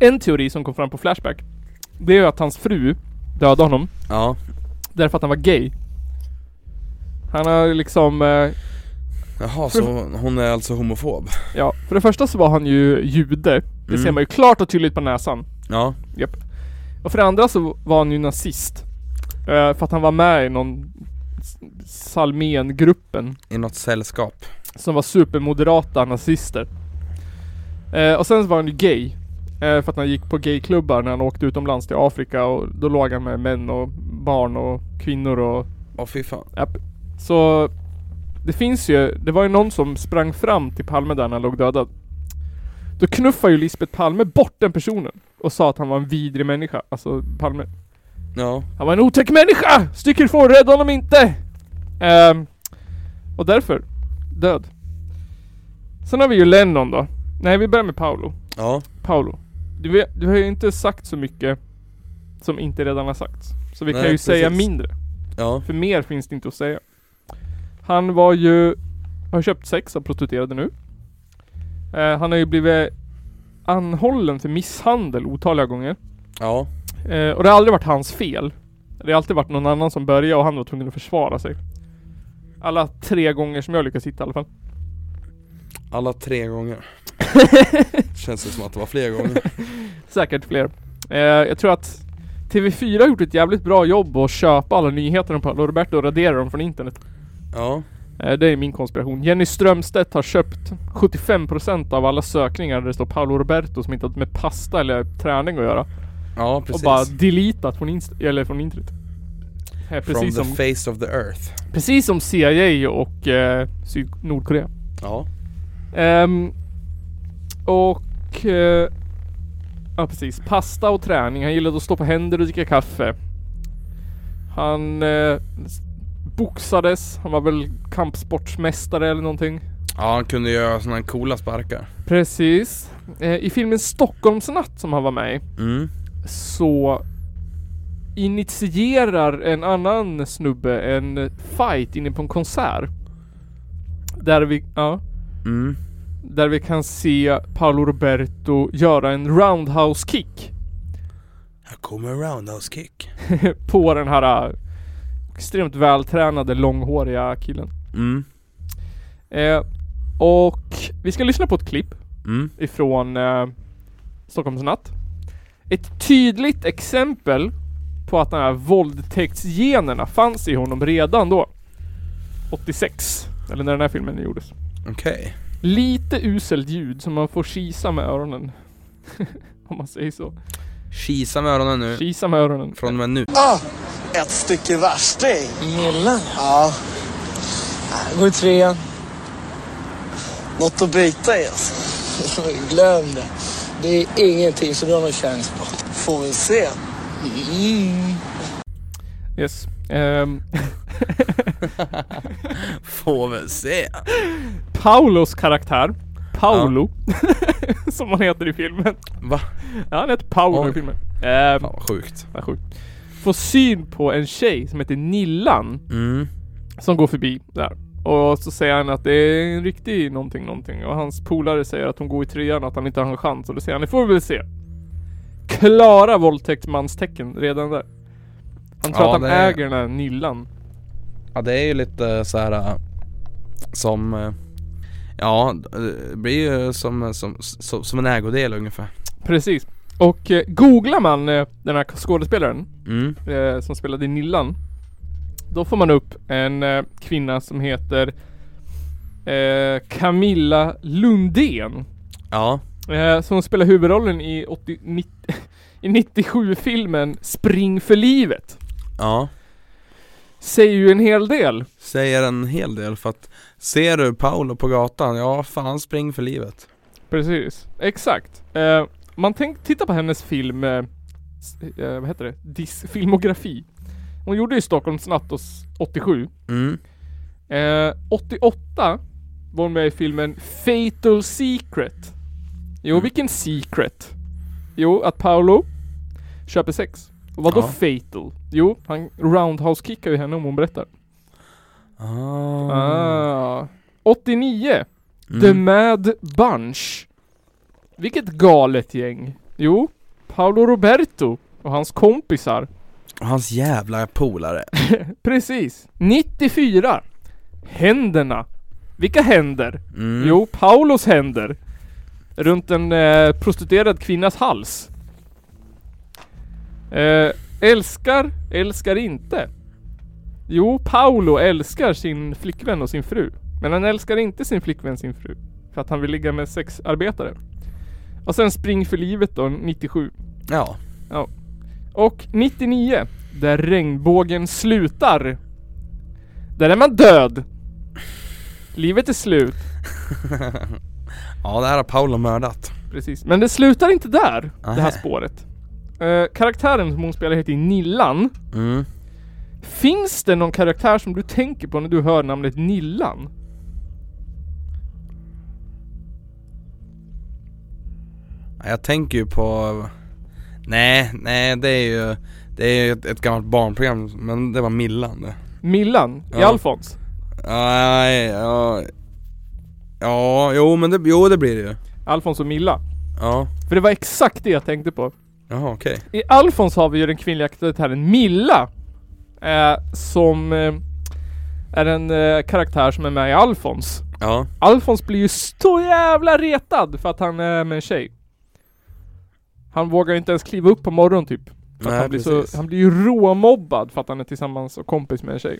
A: En teori som kom fram på Flashback. Det är ju att hans fru dödade honom.
B: Ja.
A: Därför att han var gay. Han har liksom... Eh,
B: Jaha, så hon- hon är alltså homofob?
A: ja, för det första så var han ju jude. Det ser
B: Mm.
A: man ju klart och tydligt på näsan.
B: Ja.
A: Och för det andra så var han ju nazist. Eh, för att han var med i någon s- Salmengruppen.
B: I något sällskap.
A: Som var supermoderata nazister. Eh, och sen så var han ju gay. Eh, för att han gick på gayklubbar när han åkte utomlands till Afrika och då låg han med män och barn och kvinnor och
B: Åh fy fan.
A: Så det finns ju, det var ju någon som sprang fram till Palme där när han låg dödad. Då knuffade ju Lisbeth Palme bort den personen och sa att han var en vidrig människa, alltså Palme.
B: Ja.
A: Han var en otäck människa! Stick ifrån, rädda honom inte! Ehm, och därför, död. Sen har vi ju Lennon då. Nej, vi börjar med Paolo.
B: Ja.
A: Paolo, du, vet, du har ju inte sagt så mycket som inte redan har sagts. Så vi
B: Nej,
A: kan ju säga
B: precis.
A: mindre.
B: Ja.
A: För mer finns det inte att säga. Han var ju... Har köpt sex av prostituerade nu. Eh, han har ju blivit anhållen för misshandel otaliga gånger.
B: Ja.
A: Eh, och det har aldrig varit hans fel. Det har alltid varit någon annan som började och han var tvungen att försvara sig. Alla tre gånger som jag lyckats hitta i alla fall.
B: Alla tre gånger. Känns det som att det var fler gånger.
A: Säkert fler. Eh, jag tror att TV4 har gjort ett jävligt bra jobb att köpa alla nyheter om Paolo Roberto och radera dem från internet.
B: Ja.
A: Eh, Det är min konspiration. Jenny Strömstedt har köpt 75% av alla sökningar där det står Paolo Roberto som inte har med pasta eller träning att göra.
B: Ja, precis.
A: Och bara deletat från, inst- eller från internet. Eh,
B: From
A: Precis som,
B: the face of the earth.
A: precis som CIA och eh, Syd- Nordkorea.
B: Ja.
A: Ehm, och... Eh, ja precis. Pasta och träning. Han gillade att stå på händer och dricka kaffe. Han eh, s- boxades. Han var väl kampsportsmästare eller någonting.
B: Ja, han kunde göra såna här coola sparkar.
A: Precis. Eh, I filmen Stockholmsnatt som han var med i
B: Mm.
A: så initierar en annan snubbe en fight inne på en konsert. Där vi, ja,
B: Mm.
A: där vi kan se Paolo Roberto göra en roundhouse kick
B: Jag kommer roundhouse kick.
A: på den här eh, extremt vältränade långhåriga killen.
B: Mm.
A: Eh, och vi ska lyssna på ett klipp
B: Mm.
A: ifrån eh, Stockholmsnatt. Ett tydligt exempel på att de här våldtäktsgenerna fanns i honom redan då. 86, eller när den här filmen gjordes.
B: Okej.
A: Lite uselt ljud som man får kisa med öronen. Om man säger så.
B: Kisa med öronen nu.
A: Kisa med öronen.
B: Från och med nu.
G: Ett stycke värsting. Millen? Ja. Går Äh, i trean. Något att bita i alltså. Glöm det. Det är ingenting som du har någon chans på. Får vi se.
A: Yes. Ehm,
B: Får väl se.
A: Paulos karaktär. Paolo. som han heter i filmen.
B: Va?
A: Ja, han heter Paolo i
B: Oj.
A: filmen. Ehm,
B: Fan vad sjukt.
A: Vad sjukt. Får syn på en tjej som heter Nillan
B: Mm.
A: som går förbi där. Och så säger han att det är en riktig någonting någonting och hans polare säger att hon går i trean och att han inte har en chans och då säger han det får vi väl se. Klara våldtäktsmanstecken redan där. Han tror
B: Ja,
A: att han
B: det är-
A: äger den här Nillan.
B: Ja det är ju lite så här äh, som äh, Ja, det blir ju som, äh, som, som, som en ägodel ungefär.
A: Precis. Och eh, googlar man eh, den här skådespelaren
B: Mm.
A: eh, som spelade i Nillan. Då får man upp en eh, kvinna som heter eh, Camilla Lundén.
B: Ja,
A: Eh, som spelar huvudrollen i, 80, 90, i 97-filmen Spring för livet.
B: ja.
A: Säger ju en hel del.
B: Säger en hel del för att Ser du Paolo på gatan? Ja, fan spring för livet.
A: Precis, exakt. Eh, man tänk, titta på hennes film, eh, s- eh, vad heter det? Dis, filmografi. Hon gjorde ju Stockholmsnatt os- 87.
B: Mm.
A: Eh, 88 var hon med i filmen Fatal Secret. Jo,
B: Mm.
A: vilken secret? Jo, att Paolo köper sex. Och vadå
B: Ja.
A: fatal? Jo, han roundhouse-kickar ju henne om hon berättar.
B: Ah.
A: Ah. 89 The
B: Mm.
A: Mad Bunch. Vilket galet gäng. Jo, Paolo Roberto och hans kompisar.
B: Och hans jävla polare.
A: Precis. 94. Händerna. Vilka händer?
B: Mm.
A: Jo, Paulos händer. Runt en eh, prostituerad kvinnas hals. Eh, älskar, älskar inte. Jo, Paolo älskar sin flickvän och sin fru. Men han älskar inte sin flickvän, sin fru. För att han vill ligga med sexarbetare. Och sen Spring för livet då, 97.
B: Ja.
A: Och 99, där regnbågen slutar. Där är man död. Livet är slut.
B: ja, det här har Paolo mördat.
A: Precis. Men det slutar inte där, det
B: Nähä.
A: här spåret. Eh, karaktären som hon spelar heter Nillan.
B: Mm.
A: Finns det någon karaktär som du tänker på när du hör namnet Nillan?
B: Ja, Jag tänker ju på... Nej, nej det är ju... Det är ju ett, ett gammalt barnprogram, men det var Millan det.
A: Millan i
B: Ja.
A: Alfons?
B: Nej, ja... Ja, jo men det, jo, det blir det ju.
A: Alfons och Milla.
B: Ja,
A: För det var exakt det jag tänkte på.
B: jaha okej.
A: I Alfons har vi ju den kvinnliga karaktären Milla. Eh, som eh, är en eh, karaktär som är med i Alfons.
B: Ja.
A: Alfons blir ju så jävla retad för att han är med en tjej. Han vågar ju inte ens kliva upp på morgonen typ. För att
B: Nej,
A: han, blir så,
B: precis.
A: han blir ju råmobbad för att han är tillsammans och kompis med en tjej.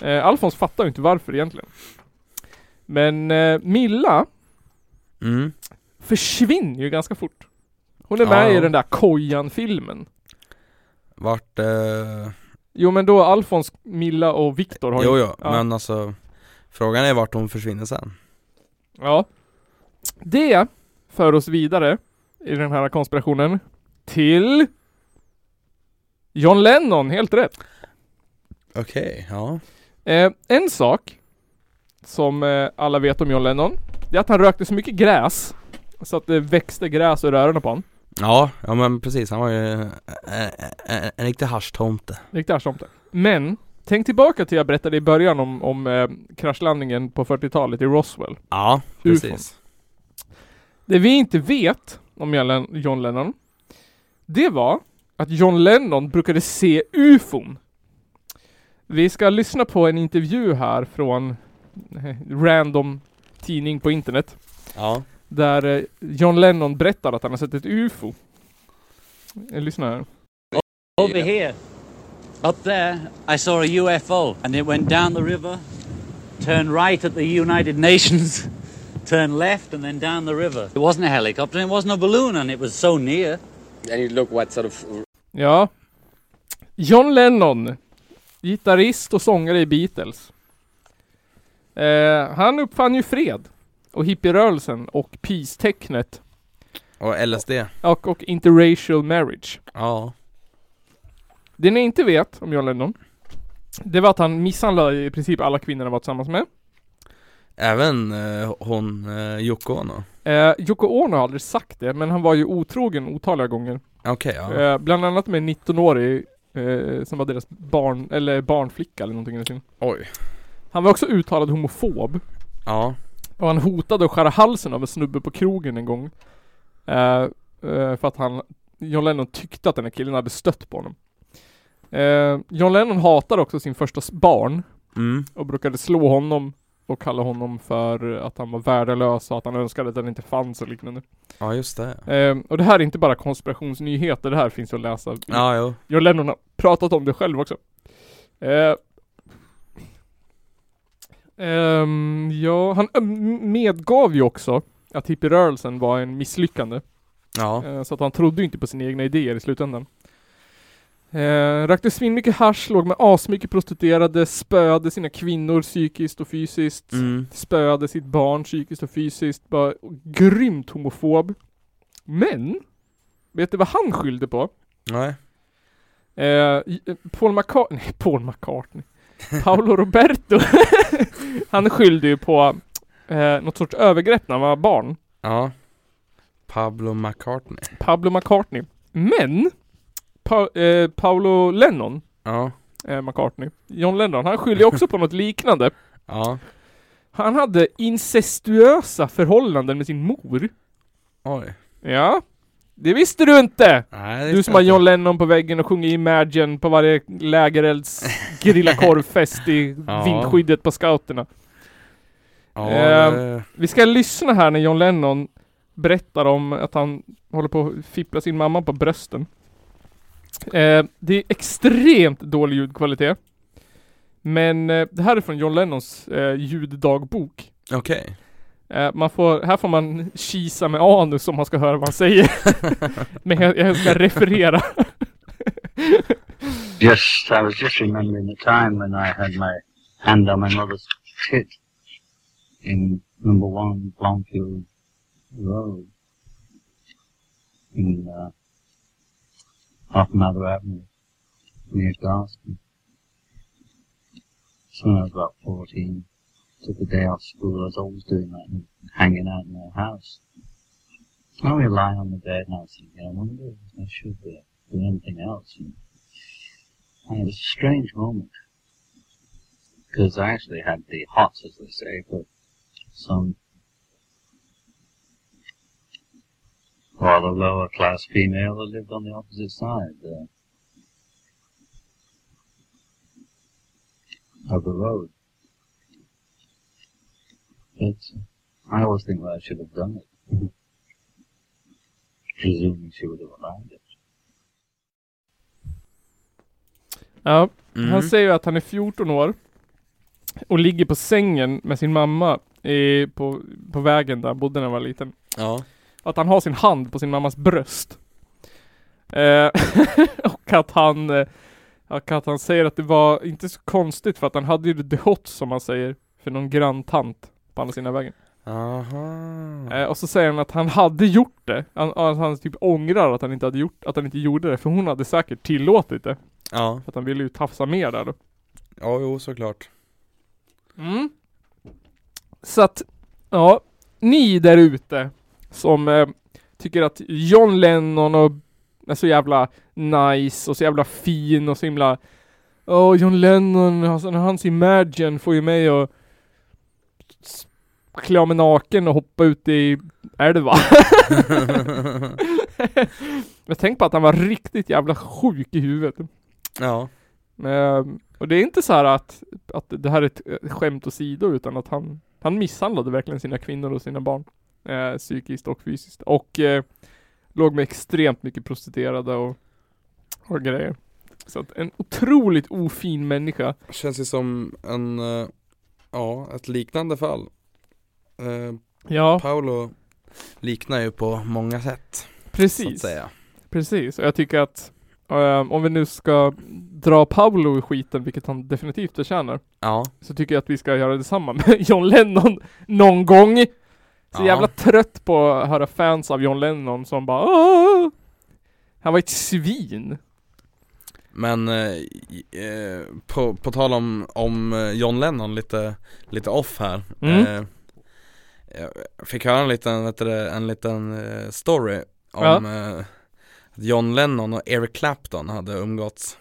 A: Eh, Alfons fattar ju inte varför egentligen. Men eh, Milla
B: Mm.
A: försvinner ju ganska fort. Hon är
B: Ja,
A: med
B: ja.
A: i den där Kojan-filmen.
B: Vart... Eh,
A: Jo men då Alfons, Milla och Viktor har ju...
B: jo, jo,
A: ja.
B: men alltså... Frågan är vart hon försvinner sen.
A: Ja. Det för oss vidare i den här konspirationen till John Lennon, helt rätt.
B: Okej, ja.
A: Eh, en sak som eh, alla vet om John Lennon, det är att han rökte så mycket gräs så att det växte gräs ur öronen på honom.
B: Ja, ja men precis. Han var ju en, en, en riktig haschtomte.
A: Riktigt arsomte. Men, tänk tillbaka till jag berättade i början om, om eh, kraschlandningen på 40-talet i Roswell.
B: Ja, precis.
A: Det vi inte vet om John Len- John Lennon, det var att John Lennon brukade se ufon. Vi ska lyssna på en intervju här från eh, random tidning på internet
B: Ja.
A: där eh, John Lennon berättar att han har sett ett ufo. Eh, Lyssna här.
H: Over here, up there, I saw a UFO and it went down the river, turned right at the United Nations, turned left and then down the river. It wasn't a helicopter and it wasn't a balloon and it was so near.
I: And you look what sort of
A: Ja. John Lennon, gitarrist och sångare i Beatles. Eh, han uppfann ju fred och hippierörelsen och peace-tecknet
B: Och LSD.
A: och, och interracial marriage.
B: Ja.
A: Det ni inte vet om John Lennon, det var att han misshandlade i princip alla kvinnor han var tillsammans med.
B: Även eh, hon eh, Yoko Ono.
A: Eh, Yoko Ono har aldrig sagt det, men han var ju otrogen otaliga gånger.
B: Okej, ja.
A: Eh, bland annat med en 19-årig eh, som var deras barn, eller barnflicka eller någonting i den stilen.
B: Oj.
A: Han var också uttalad homofob.
B: Ja.
A: Och han hotade att skära halsen av en snubbe på krogen en gång. Eh, eh, för att han, John Lennon tyckte att den här killen hade stött på honom. Eh, John Lennon hatade också sin första s- barn
B: Mm.
A: och brukade slå honom och kalla honom för att han var värdelös och att han önskade att den inte fanns och liknande.
B: Ja, just det.
A: Eh, och det här är inte bara konspirationsnyheter, det här finns att läsa.
B: Ja, jo.
A: John Lennon har pratat om det själv också. Eh, ehm, ja, han mm, medgav ju också att hippierörelsen var en misslyckande.
B: Ja.
A: Eh, så att han trodde ju inte på sina egna idéer i slutändan. Eh, rökte svinmycket hasch, låg med asmycket prostituerade, spöade sina kvinnor psykiskt och fysiskt.
B: Mm.
A: Spöade sitt barn psykiskt och fysiskt. Bara grymt homofob. Men! Vet du vad han skyllde på?
B: Nej.
A: Eh, i- eh, Paul McCartney, nej, Paul McCartney. Paolo Roberto. han skyllde ju på eh, något sorts övergrepp när han var barn.
B: Ja. Pablo McCartney.
A: Pablo McCartney. Men! Pa- eh, Paolo Lennon,
B: Ja.
A: eh, McCartney. John Lennon, han skyllde ju också på något liknande.
B: Ja.
A: Han hade incestuösa förhållanden med sin mor.
B: Oj.
A: Ja. Det visste du inte!
B: Nej, det
A: Du
B: visste
A: som har
B: jag
A: John
B: inte.
A: Lennon på väggen och sjunger Imagine på varje lägerelds grilla korvfest i
B: Ja.
A: vindskyddet på scouterna.
B: Ja,
A: Ehm.
B: det...
A: Vi ska lyssna här när John Lennon berättar om att han håller på att fippla sin mamma på brösten. Eh, det är extremt dålig ljudkvalitet. Men eh, det här är från John Lennons eh, ljuddagbok.
B: Okej.
A: Eh, man får, här får man kisa med anus om man ska höra vad han säger. Men jag, jag ska referera.
J: Just, I was just remembering the time when I had my hand on my mother's tit in number one Blomfield Road in uh, off Mather Avenue near Garston. So when I was about 14, took a day off school, I was always doing that and hanging out in their house. I was lying on the bed and I was thinking, I wonder if I should be doing anything else. And and it was a strange moment because I actually had the hots, as they say, but some rather lower class female that lived on the opposite side uh, of the road. But I always think that I should have done it, presuming she would have allowed it.
A: Ja,
B: Mm.
A: Han säger ju att han är 14 år och ligger på sängen med sin mamma i, på, på vägen där han bodde när han var liten.
B: Ja.
A: Att han har sin hand på sin mammas bröst. Eh, och att han eh, och att han säger att det var inte så konstigt för att han hade ju the hot som han säger för någon granntant på andra sidan vägen.
B: Aha.
A: Eh, och så säger han att han hade gjort det. Han, att han typ ångrar att han inte hade gjort, att han inte gjorde det för hon hade säkert tillåtit det.
B: Ja.
A: För att han ville ju tafsa mer där då.
B: Ja, jo såklart.
A: Mm. Så att, ja, ni där ute som eh, tycker att John Lennon och är så jävla nice och så jävla fin och så himla Åh, John Lennon, alltså, när hans Imagine får ju mig att s- klä av mig naken och hoppa ut i älva. Men tänk på att han var riktigt jävla sjuk i huvudet.
B: Ja.
A: Ehm, och det är inte så här att, att det här är ett eh, skämt åsido utan att han, han misshandlade verkligen sina kvinnor och sina barn. Eh, psykiskt och fysiskt. Och eh, låg med extremt mycket prostituerade och, och grejer. Så att en otroligt ofin människa.
B: Känns ju som en, eh, ja, ett liknande fall. Eh,
A: Ja,
B: Paolo liknar ju på många sätt, så att
A: precis.
B: säga.
A: Precis. Och jag tycker att ehm, om vi nu ska dra Paolo i skiten, vilket han definitivt förtjänar.
B: Ja.
A: så tycker jag att vi ska göra detsamma med John Lennon någon gång. Så
B: Ja.
A: jävla trött på att höra fans av John Lennon som bara Åh! Han var ett svin.
B: Men eh, i- eh, på, på tal om, om eh, John Lennon lite, lite off här
A: Mm.
B: eh, Jag fick höra en liten, vet du, det, en liten eh, story om eh, att John Lennon och Eric Clapton hade umgåtts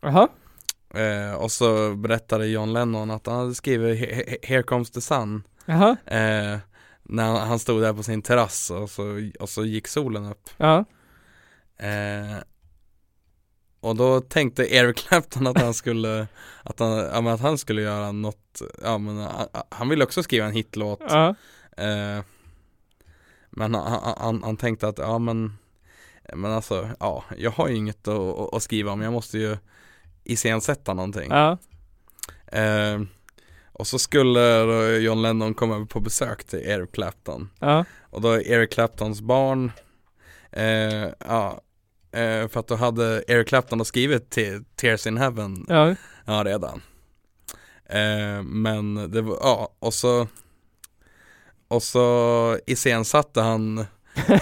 A: Jaha?
B: eh, Och så berättade John Lennon att han hade skrivit "He- he- Here comes the sun
A: Jaha?
B: eh, När han, han stod där på sin terrass och så, och så gick solen upp
A: Ja.
B: Eh, och då tänkte Eric Clapton att han skulle, att han, ja, men att han skulle göra något, ja men han, han ville också skriva en hitlåt.
A: Ja.
B: Eh, men han, han, han tänkte att, ja men, men alltså, ja, jag har ju inget att, att- att skriva om, jag måste ju iscensätta någonting.
A: Ja.
B: Eh, och så skulle då John Lennon komma över på besök till Eric Clapton.
A: Ja.
B: Och då är Eric Claptons barn eh, ja, Eh, för att då hade Eric Clapton skrivit till Tears in Heaven
A: Ja.
B: Ja, redan. Eh, men det var, ja, och så och så iscensatte han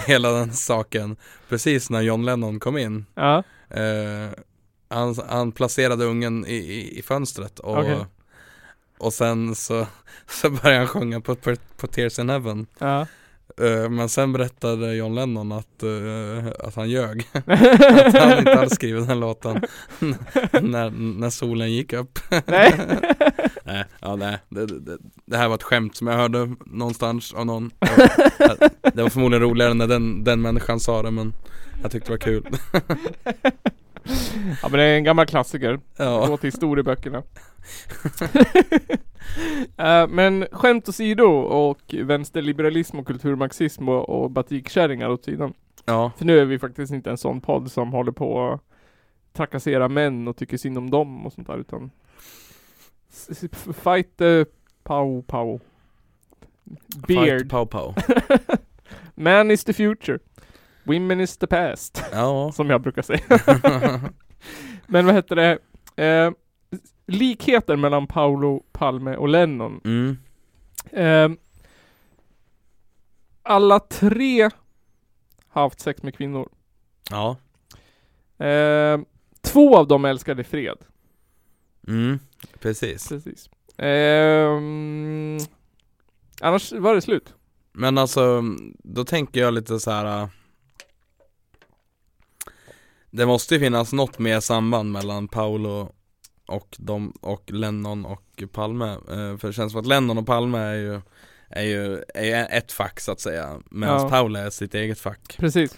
B: hela den saken precis när John Lennon kom in.
A: Ja.
B: Eh, han, han placerade ungen i, i, i fönstret och,
A: Okej.
B: och sen så, så började han sjunga på, på, på Tears in Heaven.
A: Ja.
B: Eh, Men sen berättade John Lennon att, eh, att han ljög. att han inte hade skrivit den låten när, när solen gick upp.
A: Nej.
B: nej, ja, nej. Det, det, det här var ett skämt som jag hörde någonstans av någon. Ja, Det var förmodligen roligare när den, den människan sa det men jag tyckte det var kul.
A: ja men det är en gammal klassiker.
B: Ja.
A: Gå till historieböckerna. Eh, men skämt åsido och vänsterliberalism och kulturmarxism och, och batikkärringar åt sidan.
B: Ja,
A: För nu är vi faktiskt inte en sån podd som håller på att trakassera män och tycker synd om dem och sånt där utan s- s- f- Fight eh, pow pow
B: Fight
A: Beard
B: pow pow.
A: Man is the future Women is the past
B: Ja.
A: Som jag brukar säga Men vad heter det? Eh, likheten mellan Paolo Palme och Lennon
B: Mm.
A: Ehm, alla tre har haft sex med kvinnor.
B: Ja.
A: Ehm, två av dem älskade fred.
B: Mm. Precis.
A: Precis. Ehm, annars var det slut.
B: Men alltså, då tänker jag lite så här. äh, Det måste ju finnas något mer samband mellan Paolo och, dem, och Lennon och Palme. Eh, För det känns som att Lennon och Palme är ju, är ju, är ju ett fack så att säga. Medan
A: Ja.
B: Paolo är sitt eget fack.
A: Precis.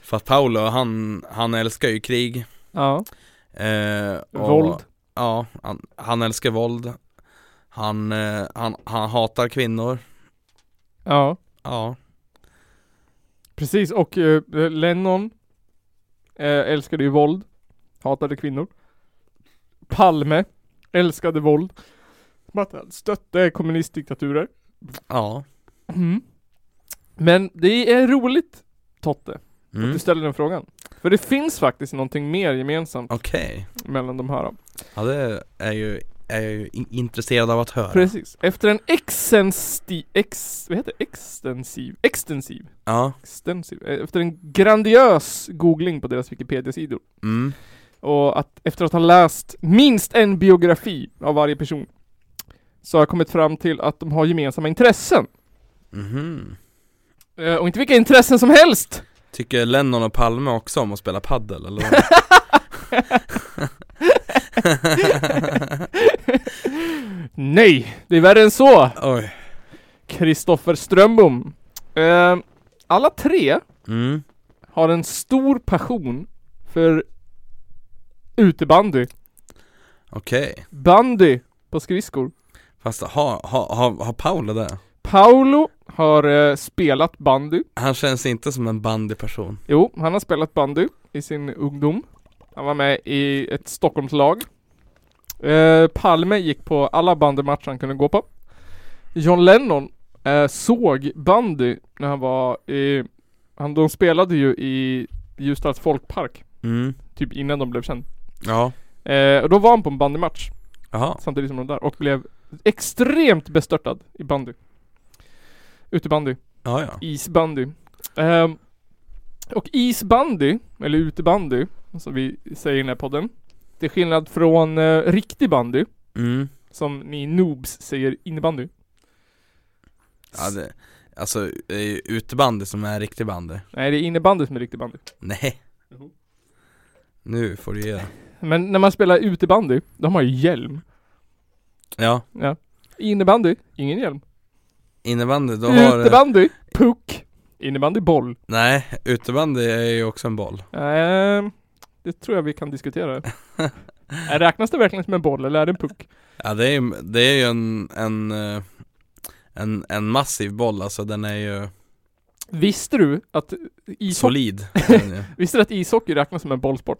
B: För att Paolo, han, han älskar ju krig.
A: Ja.
B: eh, och-
A: Våld.
B: Ja, han, han älskar våld. Han, eh, han, han hatar kvinnor.
A: Ja.
B: Ja,
A: Precis. Och eh, Lennon eh, älskade ju våld. Hatade kvinnor. Palme älskade våld. Stötte kommunistdiktaturer.
B: ja.
A: Mm. Men det är roligt Totte,
B: Mm.
A: du ställer den frågan. För det finns faktiskt någonting mer gemensamt
B: Okej.
A: mellan de här.
B: Ja det är ju, är jag ju in- intresserad av att höra
A: Precis. Efter en extensiv, ex, vad heter det? extensiv, extensiv,
B: Ja,
A: extensiv, eh, efter en grandiös googling på deras Wikipedia-sidor.
B: mm,
A: Och att efter att ha läst minst en biografi av varje person. Så har jag kommit fram till att de har gemensamma intressen.
B: mhm
A: Eh, Och inte vilka intressen som helst!
B: Tycker Lennon och Palme också om att spela paddel eller? vad?
A: Nej, det är värre än så!
B: Oj,
A: Kristoffer Strömbom. Eh, alla tre
B: mm,
A: har en stor passion för utebandy.
B: okej
A: Bandy på skridskor.
B: Fast har ha, ha, ha Paolo det?
A: Paolo har eh, spelat bandy.
B: Han känns inte som en bandyperson
A: Jo, han har spelat bandy i sin ungdom. Han var med i ett Stockholmslag. Eh, Palme gick på alla bandymatcher han kunde gå på. John Lennon eh, såg bandy när han var i... Han, de spelade ju i Ljusdals folkpark,
B: Mm,
A: typ innan de blev känd.
B: ja,
A: Eh, och då var han på en bandymatch
B: jaha,
A: samtidigt som de var där och blev extremt bestörtad i bandy. Utebandy.
B: ja ja
A: Isbandy. Ehm, och isbandy, eller utebandy, som vi säger i den här podden. Till skillnad från eh, riktig bandy,
B: mm,
A: som ni noobs säger innebandy.
B: ja, det, Alltså det är ju utebandy som är riktig bandy
A: Nej, det är innebandy som är riktig bandy.
B: Nej Nu får du ge det.
A: Men när man spelar utebandy, då har man ju hjälm.
B: Ja,
A: Ja. Innebandy, ingen hjälm.
B: innebandy då har eh, du
A: Utebandy, puck. Innebandy, boll.
B: Nej, utebandy är ju också en boll
A: Ehm, det tror jag vi kan diskutera. Eh, Räknas det verkligen som en boll eller är det en puck?
B: Ja det är, ju- det är ju en, en, eh, en, en massiv boll alltså, den är ju
A: Visste du att ishockey,
B: solid den är ju.
A: visste du att ishockey räknas som en bollsport?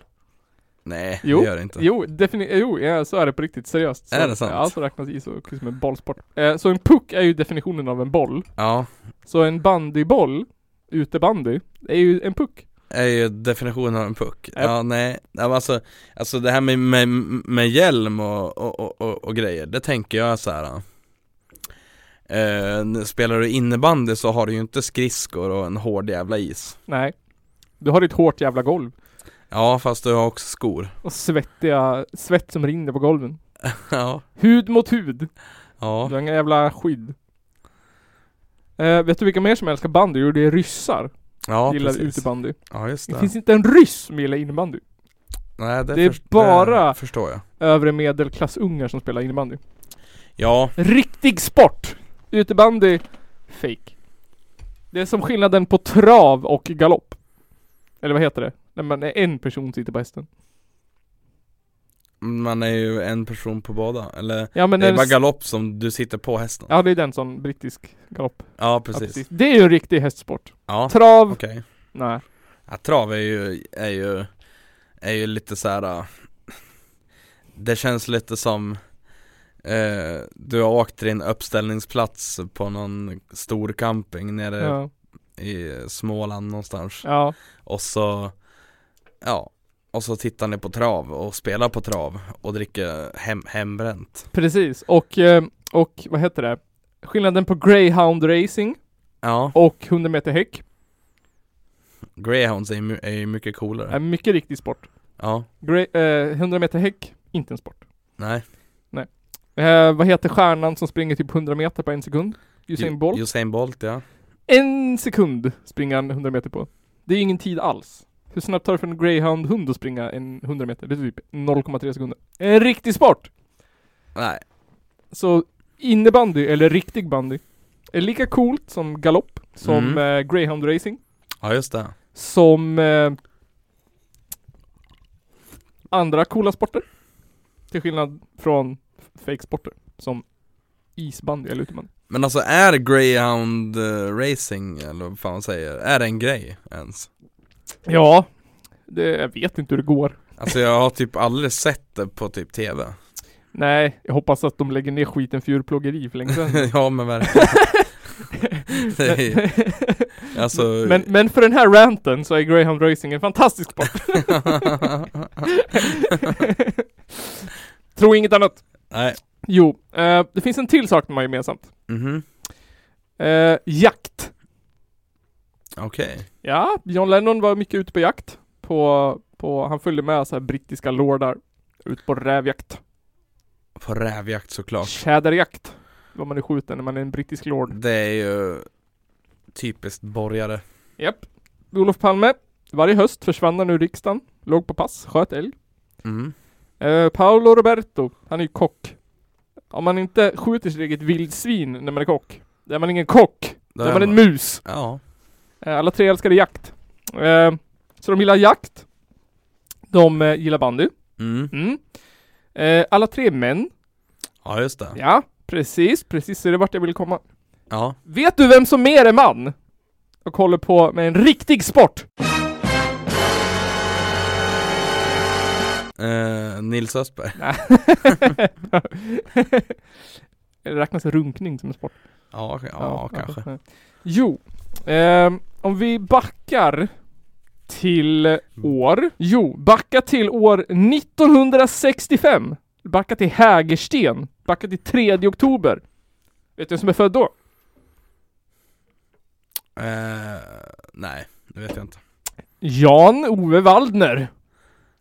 B: Nej,
A: Jo.
B: det gör det inte
A: Jo, defini- jo ja, så är det på riktigt, seriöst. Så,
B: Är det sant?
A: Ja, så räknas ishockey som en bollsport. Eh, så en puck är ju definitionen av en boll.
B: Ja,
A: Så en bandyboll, utebandy, är ju en puck.
B: är ju definitionen av en puck Ja nej, Ja, men alltså, alltså det här med, med, med hjälm och, och, och, och grejer, det tänker jag så här. Eh, spelar du innebandy så har du ju inte skridskor och en hård jävla is
A: Nej. Du har ett hårt jävla golv.
B: Ja fast du har också skor
A: Och svettiga, svett som rinner på golven.
B: Ja,
A: Hud mot hud.
B: ja,
A: Du har inga jävla skydd. Eh, vet du vilka mer som älskar bandy? Jo, det är ryssar.
B: ja
A: gillar
B: precis
A: utebandy.
B: Ja just
A: Det
B: det,
A: finns inte en ryss som gillar innebandy.
B: nej,
A: det är
B: först-
A: bara-
B: det förstår jag
A: Övre medelklassungar som spelar innebandy.
B: Ja,
A: Riktig sport! Utebandy, fake. Det är som skillnaden på trav och galopp. Eller vad heter det? När man är en person sitter på hästen.
B: man är ju en person på båda, eller
A: Ja men
B: det är
A: en
B: bara
A: s-
B: galopp som du sitter på hästen Ja,
A: Ja det är den som brittisk galopp. Ja,
B: precis
A: Det är ju en riktig hästsport.
B: Ja,
A: Trav,
B: okej
A: nej.
B: Ja, trav är ju, är ju, är ju lite så här. äh, Det känns lite som eh, Du har åkt till din uppställningsplats på någon stor camping nere
A: Ja.
B: i Småland någonstans
A: ja.
B: Och så Ja Och så tittar ni på trav och spelar på trav och dricker hem, hembränt
A: Precis. Och, eh, och vad heter det? Skillnaden på greyhound racing
B: Ja,
A: och 100 meter häck
B: greyhounds är ju my- är ju mycket
A: är
B: coolare
A: mycket riktig sport.
B: Ja,
A: Grey, eh, 100 meter häck, inte en sport.
B: nej
A: Eh, vad heter stjärnan som springer typ 100 meter på en sekund? Usain
B: Ju-
A: Bolt.
B: Usain Bolt ja
A: En sekund springer han 100 meter på. Det är ingen tid alls. Hur snabbt tar det för en greyhound-hund att springa en 100 meter? Det är typ 0,3 sekunder. En riktig sport!
B: Nej,
A: Så innebandy, eller riktig bandy, är lika coolt som galopp, som
B: Mm.
A: eh, greyhound racing,
B: ja just det
A: som eh, andra coola sporter. Till skillnad från fake-sporter som isbandy eller utebandy.
B: Men alltså är greyhound eh, racing eller vad fan man säger, är det en grej ens?
A: Ja, det, jag vet inte hur det går.
B: Alltså jag har typ aldrig sett det på typ tv
A: Nej, jag hoppas att de lägger ner skiten för djurplågeri för länge sedan.
B: Ja men verkligen Det är ju- Alltså
A: men, men för den här ranten så är greyhound racing en fantastisk sport. Tro inget annat.
B: Nej,
A: Jo, eh, det finns en till sak de har gemensamt.
B: mhm,
A: Eh, jakt.
B: okej
A: Ja, John Lennon var mycket ute på jakt. På, på, han följde med så här brittiska lordar. Ut på rävjakt.
B: På rävjakt såklart
A: Tjäderjakt. Vad man är skjuten när man är en brittisk lord.
B: Det är ju typiskt borgare
A: Japp. Olof Palme. Varje höst försvann han ur riksdagen. Låg på pass, sköt älg.
B: mm.
A: Eh, Paolo Roberto, han är ju kock. Om man inte skjuter sitt eget vildsvin när man är kock, då är man ingen kock. Då
B: Där
A: är man
B: är
A: en
B: man.
A: mus.
B: Ja,
A: Eh, alla tre älskade jakt. Eh, så de gillar jakt. De eh, gillar bandy.
B: mm.
A: Mm. Eh, alla tre är män.
B: ja just det
A: Ja, precis. Precis, så det är vart jag ville komma.
B: Ja,
A: Vet du vem som mer är man? Och håller på med en riktig sport.
B: eh, Nils Östberg
A: Eller Räknas runkning som en sport?
B: Ja, ja, ja kanske
A: Jo, ehm, om vi backar
B: Mm.
A: till år. Jo, backa till år 1965. Backa till Hägersten. Backa till 3 oktober. Vet du vem som är född då?
B: eh, Nej, det vet jag inte
A: Jan Ove Waldner.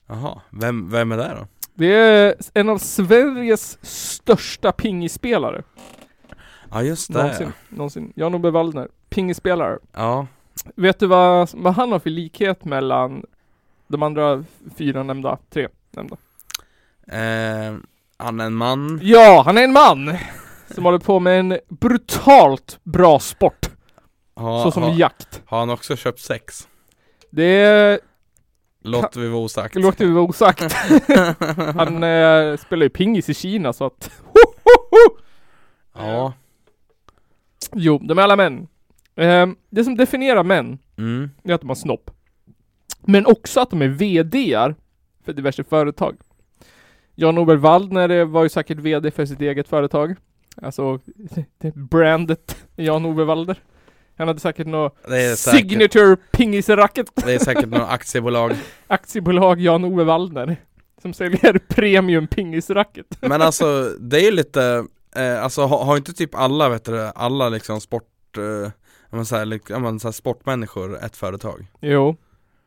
B: Jaha, vem, vem är det då?
A: Det är en av Sveriges största pingisspelare.
B: Ja just det
A: Någonsin. Någonsin. Jan Ove Waldner. Pingisspelare.
B: Ja,
A: Vet du vad, vad han har för likhet mellan de andra fyra nämnda? Tre nämnda?
B: eh, han är en man
A: Ja, han är en man! Som håller på med en brutalt bra sport,
B: ha,
A: så som
B: ha,
A: jakt.
B: Har han också köpt sex?
A: Det
B: Låter vi vara osagt
A: låter vi vara osagt. Han eh, spelar ju pingis i Kina så att... Ho, ho, ho!
B: Ja,
A: Jo, de är alla män. Ehm, det som definierar män,
B: mm,
A: det är att de har snopp. Men också att de är VDR för diverse företag. Jan-Ove Waldner eh, var ju säkert VD för sitt eget företag. Alltså, det brandet Jan-Ove Waldner. Han hade säkert något
B: Det är säkert-
A: signature pingisracket.
B: Det är säkert något aktiebolag.
A: Aktiebolag Jan-Ove Wallner. Som säljer premium pingisracket.
B: Men alltså det är ju lite, eh, alltså har, har inte typ alla vet du, alla liksom sport, eh, ja, men så här, lik- ja, men så här, sportmänniskor ett företag?
A: Jo.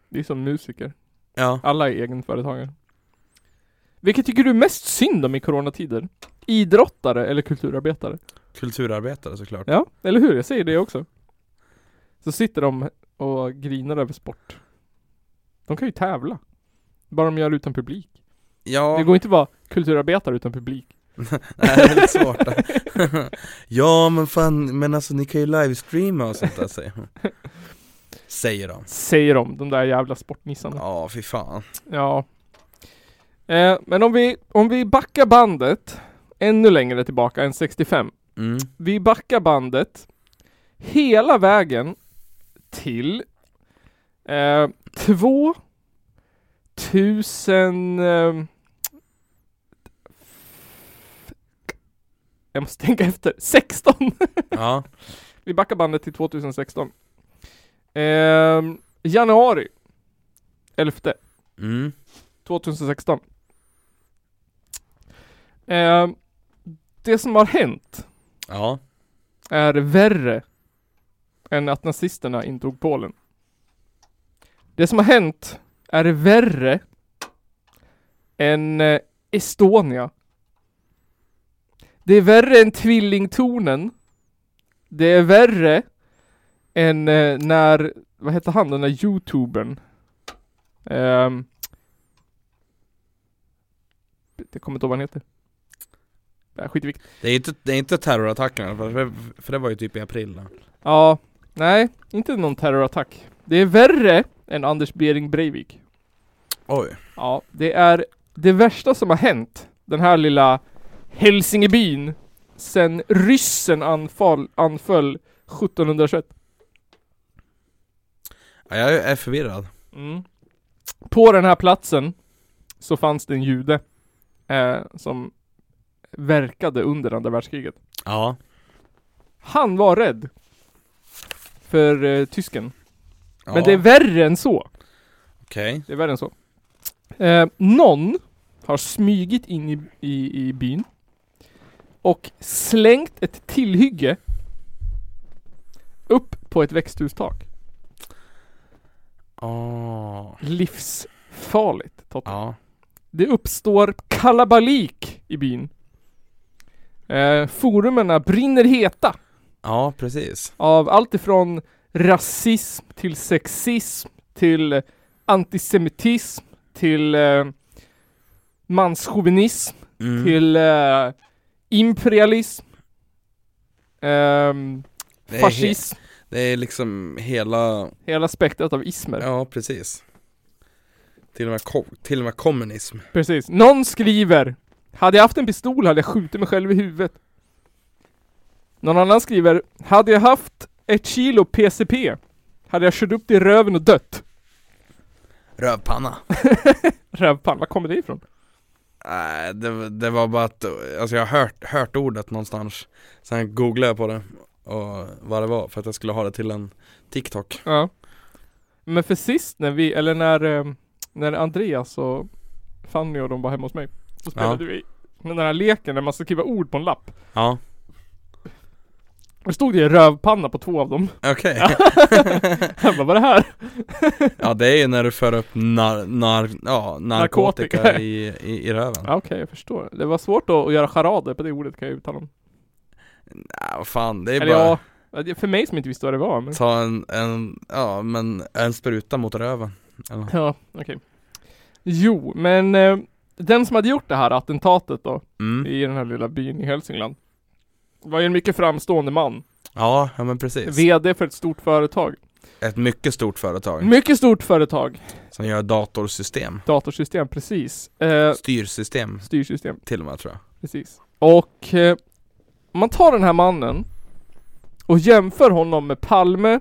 A: Det är som musiker.
B: Ja.
A: Alla är egenföretagare. Vilket tycker du mest synd om i coronatider? Idrottare eller kulturarbetare?
B: Kulturarbetare såklart.
A: Ja, eller hur? Jag säger det också. Så sitter de och grinar över sport. De kan ju tävla. Bara de gör det utan publik.
B: Ja,
A: Det går inte att vara kulturarbetare utan publik.
B: nej, det är lite svårt Ja men fan, men alltså ni kan ju livestreama och sånt där säger de. Säger de.
A: Säger de, de där jävla sportnissarna.
B: Ja fy fan.
A: Ja. Eh, men om vi, om vi backar bandet ännu längre tillbaka än 65.
B: Mm.
A: Vi backar bandet hela vägen till eh, 2000... Eh, jag måste tänka efter. 16!
B: Ja.
A: Vi backar bandet till 2016. Ehm, januari 11
B: Mm.
A: 2016. Ehm, det som har hänt
B: Ja.
A: är värre än att nazisterna intog Polen. Det som har hänt är värre än eh, Estonia. Det är värre än tvillingtornen. Det är värre än eh, när, vad hette han den där youtubern? Ehm. jag kommer inte ihåg vad han heter. Det här skiter vi i.
B: Det är inte, det är inte terrorattackerna, för, för- för det var ju typ i april då.
A: Ja, nej, inte någon terrorattack. Det är värre än Anders Bering Breivik.
B: Oj.
A: Ja, det är det värsta som har hänt den här lilla Hälsingebyn sen ryssen anfall, anföll 1721.
B: Ja, jag är förvirrad.
A: Mm. På den här platsen så fanns det en jude eh, som verkade under andra världskriget.
B: Ja.
A: Han var rädd för eh, tysken.
B: ja.
A: Men det är värre än så.
B: Okej.
A: Det är värre än så. Eh, någon har smygit in i, i, i byn och slängt ett tillhygge upp på ett växthustak.
B: Ah.
A: Livsfarligt, Totte.
B: Ja.
A: Det uppstår kalabalik i byn. Eh, forumerna brinner heta
B: Ja, precis.
A: av allt ifrån rasism till sexism till eh, antisemitism till eh, manschauvinism
B: Mm.
A: till eh, imperialism, ehm,
B: Det är
A: fascism,
B: Det är liksom hela,
A: hela spektrat av ismer.
B: ja precis Till och med, ko- till och med kommunism
A: Precis. Någon skriver Hade jag haft en pistol hade jag skjutit mig själv i huvudet. Någon annan skriver Hade jag haft ett kilo PCP hade jag kört upp det i röven och dött.
B: Rövpanna
A: Rövpann, var kommer det ifrån?
B: Nej det, det var bara att, alltså jag har hört, hört ordet någonstans Sen googlade jag på det och vad det var för att jag skulle ha det till en TikTok
A: Ja. Men för sist när vi, eller när, eh, när Andreas och Fanny och de var hemma hos mig. Så spelade vi den här leken där man ska skriva ord på en lapp.
B: Ja,
A: Det stod det rövpanna på två av dem.
B: okej
A: Jag bara, vad är det här?
B: Ja det är ju när du för upp nar, nar, ja, narkotika,
A: Narkotika.
B: I, i, i röven
A: Ja, Okej, jag förstår. Det var svårt att att göra charader på det ordet kan jag uttala om.
B: Nej vad fan det är
A: Eller
B: bara
A: ja, det- för mig som inte visste vad det var. Men...
B: ta en, en, ja men en spruta mot röven Eller-
A: Ja, okej. Jo, men eh, den som hade gjort det här attentatet då,
B: mm.
A: i den här lilla byn i Hälsingland, var ju en mycket framstående man.
B: Ja, ja men precis
A: VD för ett stort företag.
B: Ett mycket stort företag
A: Mycket stort företag.
B: Som gör datorsystem
A: Datorsystem, precis. Eh,
B: Styrsystem
A: styrsystem,
B: till och med tror jag
A: precis. Och eh, om man tar den här mannen och jämför honom med Palme,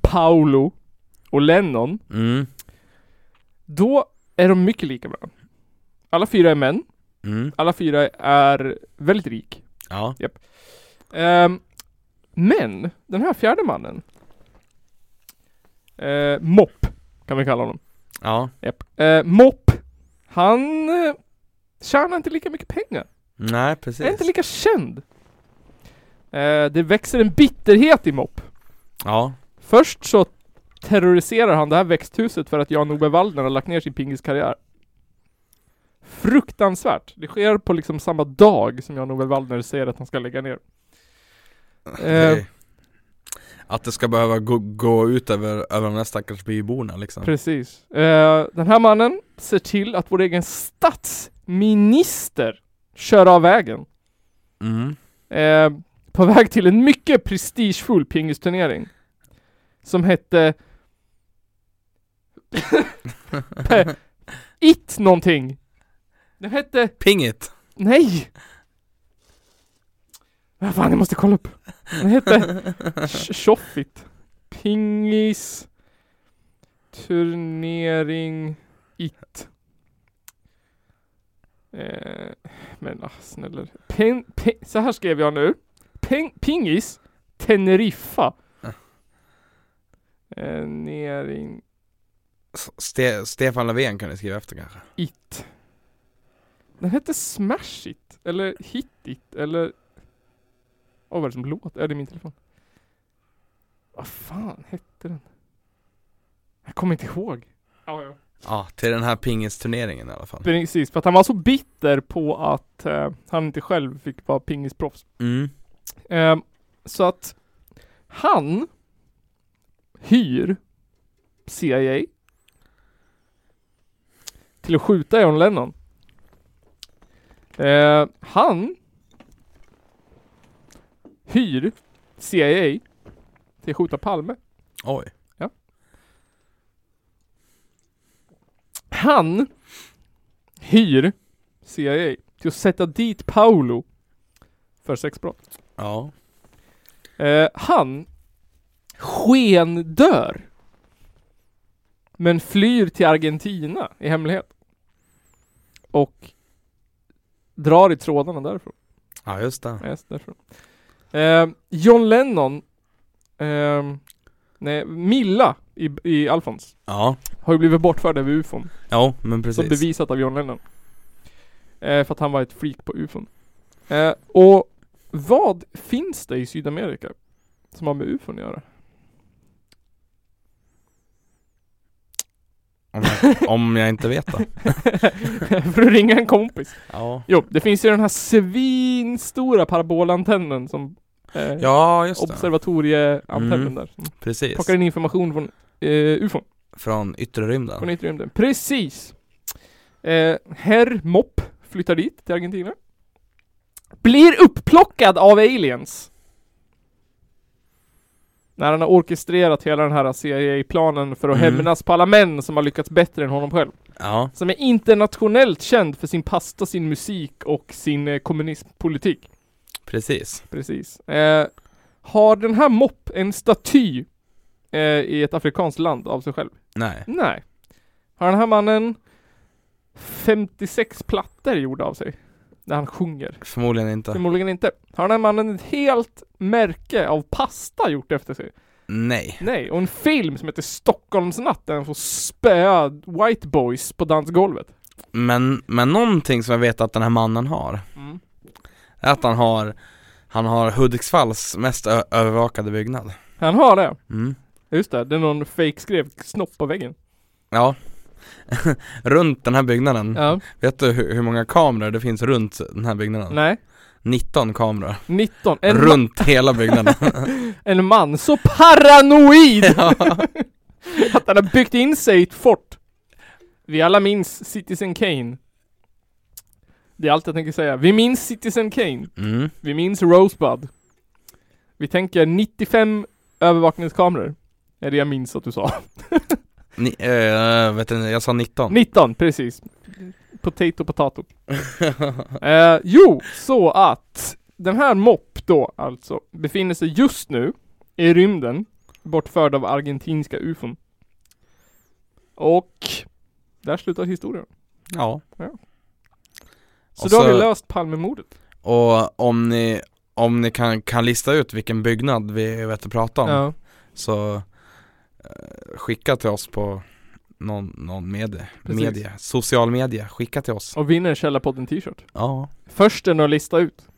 A: Paolo och Lennon,
B: Mm,
A: då är de mycket lika varandra. Alla fyra är män,
B: mm,
A: alla fyra är väldigt rik.
B: ja
A: Ehm, Men, den här fjärde mannen. Eh, Mopp, kan vi kalla honom.
B: Ja.
A: Japp. Eh, Mopp, han eh, tjänar inte lika mycket pengar.
B: Nej, precis.
A: Är inte lika känd. Eh, det växer en bitterhet i Mopp.
B: Ja.
A: Först så terroriserar han det här växthuset för att Jan-Ove Waldner har lagt ner sin pingiskarriär. Fruktansvärt! Det sker på liksom samma dag som Jan-Ove Waldner säger att han ska lägga ner. Eh,
B: Det- Att det ska behöva gå, gå ut över, över de där stackars byborna liksom.
A: Precis. Eh, den här mannen ser till att vår egen statsminister kör av vägen.
B: Mm.
A: Eh, på väg till en mycket prestigefull pingisturnering. Som hette... Pe- It någonting. Den hette...
B: Pingit!
A: Nej! Vad fan, jag måste kolla upp. Den hette Sh- Shoffit. Pingis. Turnering. It. Eh, men ah, snälla. Pen, pe, så här skrev jag nu. Peng, pingis. Teneriffa. Eh, nering.
B: Ste Stefan Löfven kan ni skriva efter kanske.
A: It. Den hette Smash It, eller Hit It, eller... Åh, vad är det som låter? Är det är min telefon? Vad fan hette den? Jag kommer inte ihåg. Ja, ja.
B: Ja, till den här pingisturneringen i alla fall.
A: Precis, för att han var så bitter på att eh, han inte själv fick vara pingisproffs.
B: Mm.
A: Ehm, så att han hyr CIA till att skjuta John Lennon. Ehm, han hyr CIA till att skjuta Palme.
B: Oj.
A: Han hyr CIA till att sätta dit Paolo för sexbrott.
B: Ja.
A: Eh, han skendör. Men flyr till Argentina i hemlighet. Och drar i trådarna därifrån.
B: Ja, just det.
A: Yes, därifrån. Eh, John Lennon, eh, nej, Milla i, i Alfons,
B: Ja.
A: har ju blivit bortförd över ufon.
B: Ja, men
A: Som
B: precis.
A: bevisat av John Lennon. Eh, för att han var ett freak på ufon. Eh, och vad finns det i Sydamerika som har med ufon att göra?
B: Om jag, om jag inte vet då.
A: för att ringa en kompis.
B: Ja.
A: Jo, det finns ju den här svinstora parabolantennen som eh,
B: Ja, just det.
A: Observatorieantennen
B: Mm.
A: där. Som
B: Precis.
A: plockar in information från eh, ufon,
B: Från yttre
A: från
B: rymden.
A: yttre rymden. Precis! Eh, herr Mopp flyttar dit, till Argentina. Blir upplockad av aliens. När han har orkestrerat hela den här CIA-planen för att
B: Mm.
A: hämnas på alla män som har lyckats bättre än honom själv.
B: Ja.
A: som är internationellt känd för sin pasta, sin musik och sin eh, kommunistpolitik.
B: Precis.
A: Precis. Eh, har den här Mopp en staty eh, i ett afrikanskt land av sig själv?
B: Nej.
A: Nej. Har den här mannen 56 plattor gjorda av sig? När han sjunger?
B: Förmodligen inte.
A: Förmodligen inte. Har den här mannen ett helt märke av pasta gjort efter sig?
B: Nej.
A: Nej. Och en film som heter Stockholmsnatt där han får spöa white boys på dansgolvet.
B: Men, men någonting som jag vet att den här mannen har.
A: Mm.
B: Är att han har Han har Hudiksvalls mest ö- övervakade byggnad.
A: Han har det.
B: Mm.
A: Just det, det är någon fake skrev snopp på väggen.
B: Ja. runt den här byggnaden.
A: Ja.
B: Vet du hur, hur många kameror det finns runt den här byggnaden?
A: Nej.
B: 19 kameror.
A: 19. En, ma-
B: runt hela byggnaden.
A: en man så paranoid
B: ja.
A: att han har byggt in sig i ett fort. Vi alla minns Citizen Kane. Det är allt jag tänker säga. Vi minns Citizen Kane.
B: Mm.
A: Vi minns Rosebud. Vi tänker 95 övervakningskameror. Är det jag minns att du sa.
B: Ni, eh, vet du, jag sa 19.
A: 19, precis. Potato, potato. Eh, jo, så att den här Mopp då alltså befinner sig just nu i rymden bortförd av argentinska ufon. Och där slutar historien.
B: ja.
A: Ja. Så
B: Och
A: då har
B: så-
A: vi löst Palmemordet.
B: Och om ni om ni kan, kan lista ut vilken byggnad vi vet prata om
A: Ja.
B: så eh, skicka till oss på någon, någon medie,
A: Precis.
B: media, social media, skicka till oss.
A: Och vinner en Källarpodden t-shirt.
B: Ja.
A: Försten att lista ut.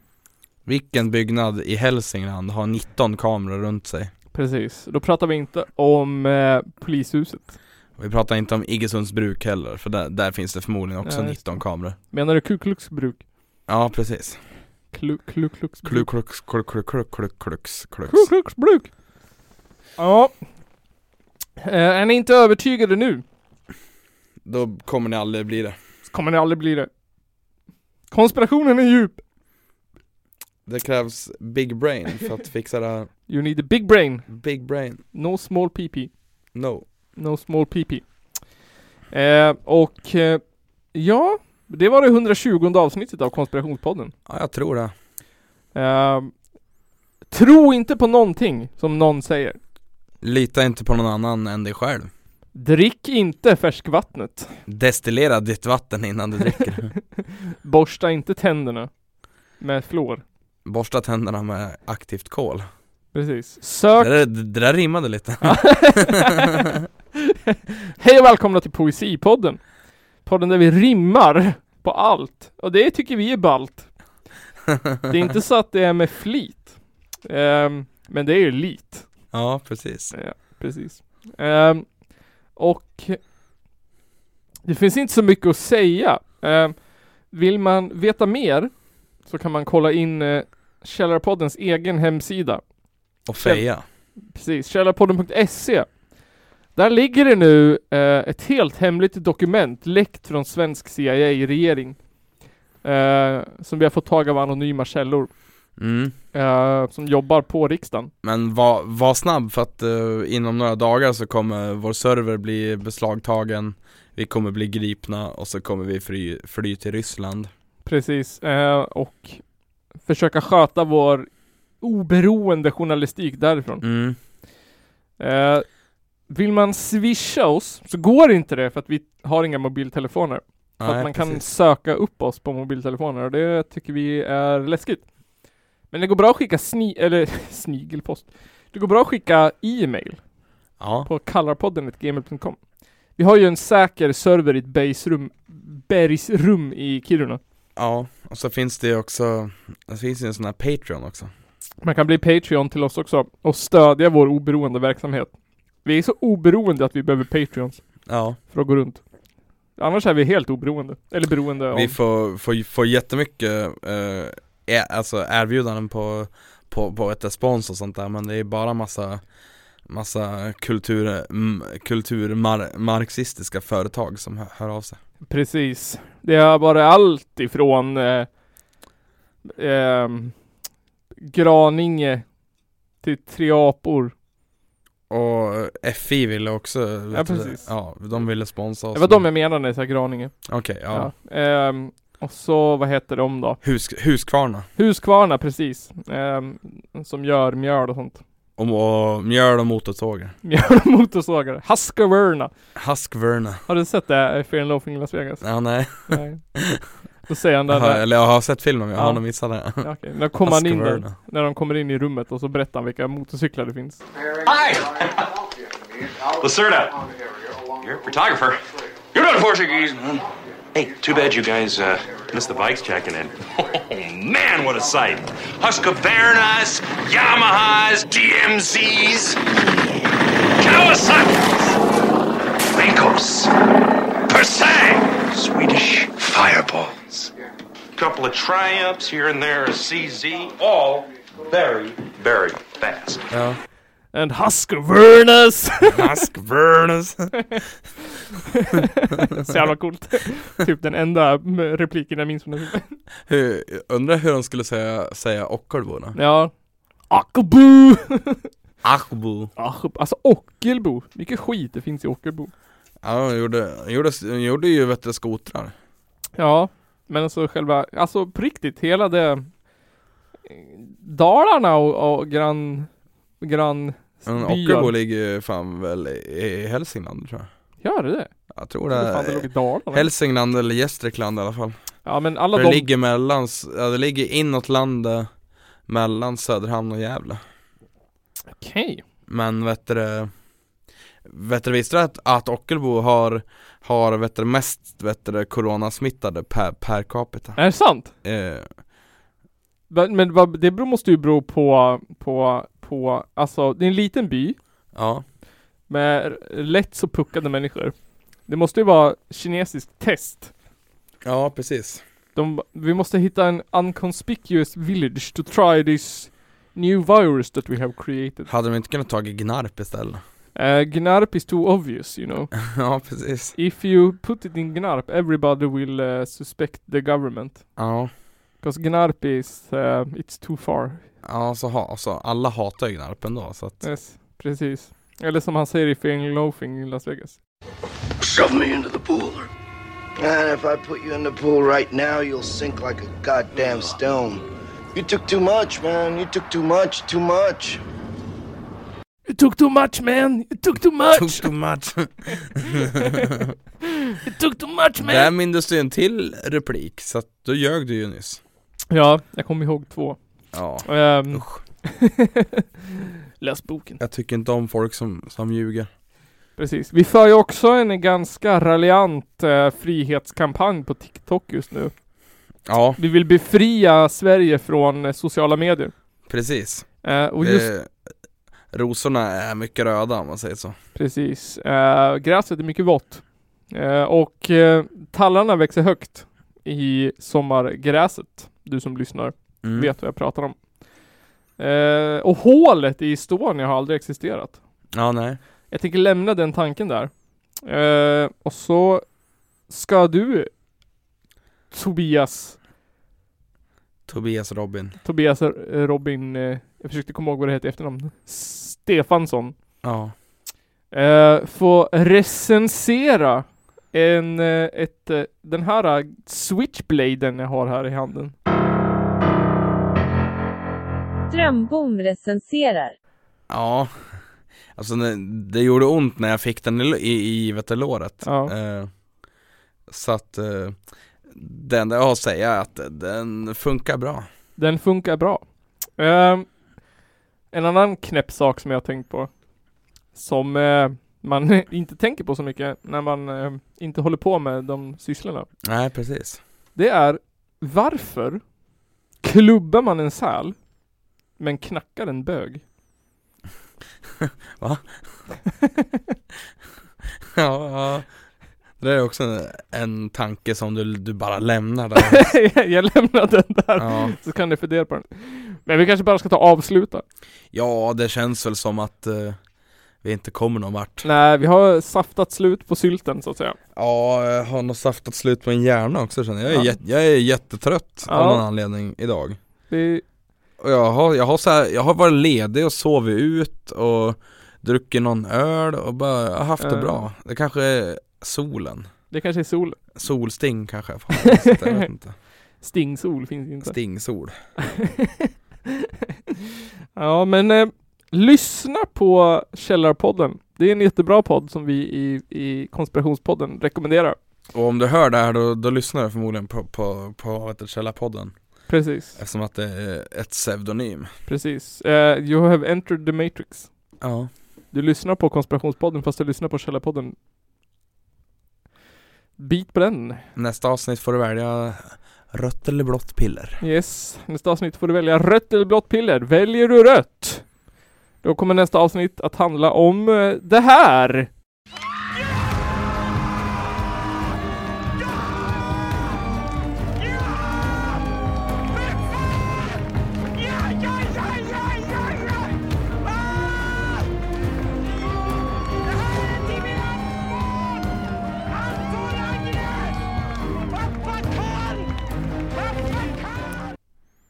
B: Vilken byggnad i Hälsingland har 19 kameror runt sig?
A: Precis. Då pratar vi inte om eh, polishuset.
B: Vi pratar inte om Iggesunds bruk heller, för där, där finns det förmodligen också
A: Ja, just
B: 19 kameror.
A: Menar du Ku Klux bruk?
B: Ja, precis.
A: Klu, klu, klux,
B: Klux, klux, klux, klux, klux, klux, klux.
A: Klux, klux, bruk. Ja. Eh, är ni inte övertygade nu
B: Då kommer ni aldrig bli det.
A: så kommer ni aldrig bli det. Konspirationen är djup.
B: Det krävs big brain för att fixa det här.
A: You need a big brain.
B: Big brain,
A: No small PP.
B: no.
A: No small PP. Eh, och eh, ja, det var det 120 avsnittet av Konspirationspodden.
B: Ja, jag tror det.
A: Eh, tro inte på någonting som någon säger.
B: Lita inte på någon annan än dig själv.
A: Drick inte färskvattnet.
B: Destillera ditt vatten innan du dricker.
A: Borsta inte tänderna med fluor.
B: Borsta tänderna med aktivt kol.
A: Precis.
B: Det
A: Sök...
B: där, det där rimmade lite.
A: Hej och välkomna till Poesipodden. Podden där vi rimmar på allt. Och det tycker vi är ballt. Det är inte så att det är med flit. Ehm, men det är ju lit.
B: ja, precis.
A: Precis. Ehm, och det finns inte så mycket att säga. Ehm, vill man veta mer så kan man kolla in uh, Källarpoddens egen hemsida.
B: Och feja.
A: Precis, källarpodden.se. Där ligger det nu eh, ett helt hemligt dokument läckt från svensk CIA-regering. Eh, som vi har fått tag av anonyma källor
B: Mm.
A: eh, som jobbar på riksdagen.
B: Men var, var snabb för att eh, inom några dagar så kommer vår server bli beslagtagen Vi kommer bli gripna och så kommer vi fly, fly till Ryssland
A: Precis, eh, och försöka sköta vår oberoende journalistik därifrån.
B: mm.
A: Eh, vill man swisha oss så går inte det för att vi har inga mobiltelefoner. Så att man kan söka upp oss på mobiltelefoner och det tycker vi är läskigt. Men det går bra att skicka sni eller snigelpost. Det går bra att skicka e-mail
B: Ja,
A: på kallarpodden.gmail.com. Vi har ju en säker server i ett bergsrum, bergsrum i Kiruna.
B: ja, och så finns det ju också Det finns ju en sån här Patreon också
A: Man kan bli Patreon till oss också och stödja vår oberoende verksamhet. Vi är så oberoende att vi behöver Patreons
B: Ja,
A: för att gå runt. Annars är vi helt oberoende. Eller beroende av...
B: vi får, får, får jättemycket eh, e- Alltså erbjudanden på, på, på ett respons och sånt där Men det är bara massa Massa kultur, m- kulturmarxistiska företag som hör, hör av sig
A: Precis. Det har varit allt ifrån eh, ehm, Graninge till tre apor.
B: Och FI ville också vet du,
A: precis.
B: ja, de ville sponsra oss
A: Det var de jag menade när jag sa Graninge.
B: Okej, ja,
A: Ehm, och så, vad heter de då?
B: Hus, Huskvarna
A: Huskvarna, precis. Ehm, som gör mjöl och sånt.
B: och, och mjöl och motorsågar
A: Mjöl och motorsågar. Husqvarna.
B: Huskvarna,
A: Har du sett det? Fear and Loafing i Las Vegas?
B: ja nej,
A: Nej. Då säger han
B: jag har,
A: där.
B: eller jag har sett filmen men jag
A: Ja.
B: har nog missat det
A: Ja, okej. När kommer han in där,
B: Husqvarna.
A: när de kommer in i rummet och så berättar han vilka motorcyklar det finns.
K: Lacerda, you're a photographer. You're not a Portuguese. Hey, too bad you guys uh, missed the bikes checking in. Oh man, what a sight! Husqvarnas, Yamahas, DMZs, Kawasaki's, Makos, Persang, Swedish fireballs. Couple of triumphs here and there, a CZ, all very, very fast.
B: ja.
A: And Husqvarnas!
B: Huskvarnas
A: Så jävla coolt. typ den enda mm, repliken jag minns från den filmen.
B: hur, Eh, Undrar hur de skulle säga, säga Ockelborna
A: Ja. Ockelbo!
B: Achbo
A: Ach- alltså Ockelbo. Mycket skit det finns i Ockelbo.
B: Ja de gjorde, gjorde, gjorde ju vet du, skotrar
A: Ja. Men alltså själva, alltså på riktigt, hela det eh, Dalarna och, och grann, grann
B: Men Ockelbo ligger ju fan väl i, i Hälsingland tror jag
A: Gör det det?
B: Jag tror det
A: Jag trodde fan det låg i
B: är
A: Dalarna.
B: Hälsingland eller Gästrikland i alla fall
A: ja men alla
B: För det
A: de,
B: ligger mellan, s- ja, det ligger inåt landet Mellan Söderhamn och Gävle
A: Okej
B: Men vet du Vet du, visste du att, att Ockelbo har, har vet du, mest vet du, coronasmittade per, per capita?
A: Är det sant?
B: Eh,
A: Men, men vad- det beror- måste ju bero på, på, på, alltså det är en liten by
B: Ja
A: Med r- lätt så puckade människor Det måste ju vara kinesiskt test
B: Ja, precis
A: De, vi måste hitta en unconspicuous village to try this new virus that we have created
B: Hade de inte kunnat tagit Gnarp istället?
A: Eh, Gnarp is too obvious you know
B: ja, precis
A: If you put it in Gnarp everybody will eh, suspect the government
B: Ja,
A: Because Gnarp is, eh, it's too far
B: ja så, ha, så alla hatar ju Gnarp ändå så att
A: Yes, precis Eller som han säger i Feeling Loafing i Las Vegas
G: Shove me into the pool. And if I put you in the pool right now, you'll sink like a goddamn stone. You took too much, man. You took too much, too much.
A: You took too much man, you took too much!
B: Took too much!
A: you took too much man!
B: Där mindes du en till replik, så att då ljög du ju nyss
A: Ja, jag kommer ihåg två.
B: Ja,
A: Ehm,
B: usch
A: Läs boken.
B: Jag tycker inte om folk som, som ljuger
A: Precis. Vi för ju också en ganska raljant eh, frihetskampanj på TikTok just nu.
B: Ja,
A: Vi vill befria Sverige från eh, sociala medier.
B: precis
A: Eh, och just
B: eh, Rosorna är mycket röda om man säger så
A: precis, eh, gräset är mycket vått. Eh, och eh, tallarna växer högt i sommargräset. Du som lyssnar
B: Mm.
A: vet vad jag pratar om. Eh, och hålet i Estonia har aldrig existerat.
B: Ja, nej
A: Jag tänker lämna den tanken där. Eh, och så ska du Tobias,
B: Tobias Robin
A: Tobias eh, Robin, eh, jag försökte komma ihåg vad det heter i efternamn, Stefansson,
B: Ja,
A: eh, få recensera en, eh, ett, eh, den här eh, switchbladen jag har här i handen.
C: Strömbom recenserar.
B: ja Alltså det, det gjorde ont när jag fick den i, i, i vet du, låret
A: Ja.
B: Eh, Så att eh, det enda jag har att säga är att den funkar bra
A: Den funkar bra. Ehm, en annan knäpp sak som jag har tänkt på. Som eh, man inte tänker på så mycket när man eh, inte håller på med de sysslorna.
B: Nej, precis
A: Det är varför klubbar man en säl men knackar en bög?
B: Ja, ja Det där är också en, en tanke som du, du bara lämnar där
A: jag lämnar den där
B: ja.
A: så kan ni fundera på den. Men vi kanske bara ska ta och avsluta.
B: ja, det känns väl som att eh, vi inte kommer någon vart
A: Nej, vi har saftat slut på sylten så att säga.
B: Ja, jag har nog saftat slut på en hjärna också känner jag. Jag är,
A: Ja.
B: jät- jag är jättetrött av
A: Ja.
B: någon anledning idag
A: Vi,
B: Och jag har, jag har så här, jag har varit ledig och sovit ut och druckit någon öl och bara jag har haft det
A: Eh.
B: bra Det kanske är solen
A: det kanske är sol.
B: Solsting kanske jag får hoppas, jag vet inte
A: Stingsol finns inte.
B: Stingsol
A: ja men eh, lyssna på Källarpodden. Det är en jättebra podd som vi i, i Konspirationspodden rekommenderar.
B: Och om du hör det här då, då lyssnar du förmodligen på, på, på vad heter det, Källarpodden
A: Precis,
B: Eftersom att det är ett pseudonym
A: Eh, precis. Eh, you have entered the matrix.
B: Ja
A: Du lyssnar på Konspirationspodden fast du lyssnar på Källarpodden. Bit på den.
B: Nästa avsnitt får du välja rött eller blått piller
A: Yes, nästa avsnitt får du välja rött eller blått piller. Väljer du rött, då kommer nästa avsnitt att handla om eh, det här.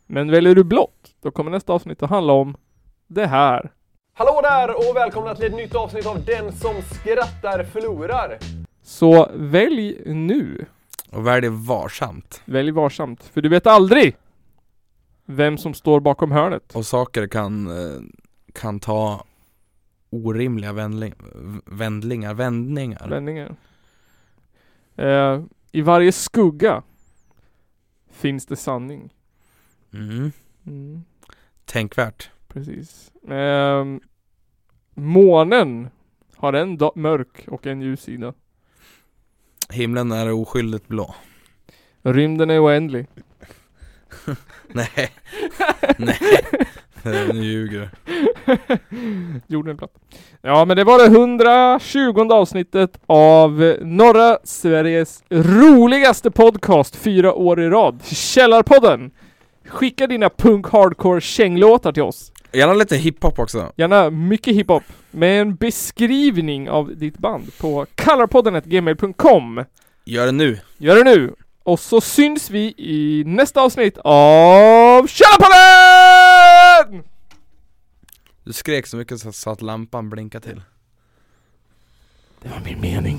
A: Men väljer du blått, då kommer nästa avsnitt att handla om det här.
L: Hallå där och välkomna till ett nytt avsnitt av Den som skrattar förlorar.
A: Så välj nu.
B: Och välj varsamt
A: Välj varsamt, för du vet aldrig vem som står bakom hörnet.
B: Och saker kan, eh, kan ta orimliga vändling, v- vändlingar, vändningar
A: Vändningen. Eh, I varje skugga finns det sanning.
B: mm.
A: Mm.
B: tänkvärt.
A: Precis. Ehm, månen har en da- mörk och en ljus sida.
B: Himlen är oskyldigt blå.
A: Rymden är oändlig.
B: Nej. Nej. Nu ljuger du.
A: Jorden är platt. Ja men det var det 120 avsnittet av eh, norra Sveriges roligaste podcast fyra år i rad. Källarpodden! Skicka dina punk hardcore känglåtar till oss.
B: Gärna lite hiphop också.
A: Gärna mycket hiphop med en beskrivning av ditt band på kallarpodden.gmail.com
B: Gör det nu.
A: Gör det nu! Och så syns vi i nästa avsnitt av Källarpodden!
B: Du skrek så mycket så- så att lampan blinkade till.
A: Det var min mening.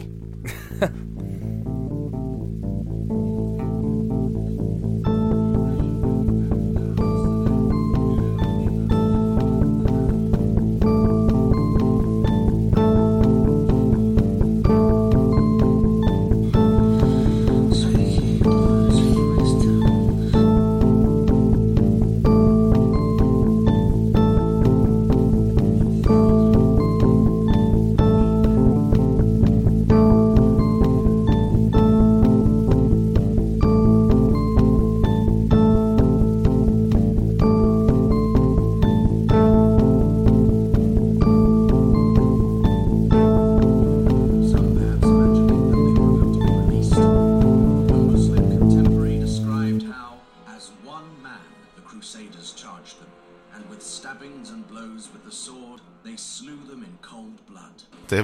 M: Muslim contemporary described how, as one man, the Crusaders charged them, and with stabbings and blows with the sword, they slew them in cold blood.
N: Det är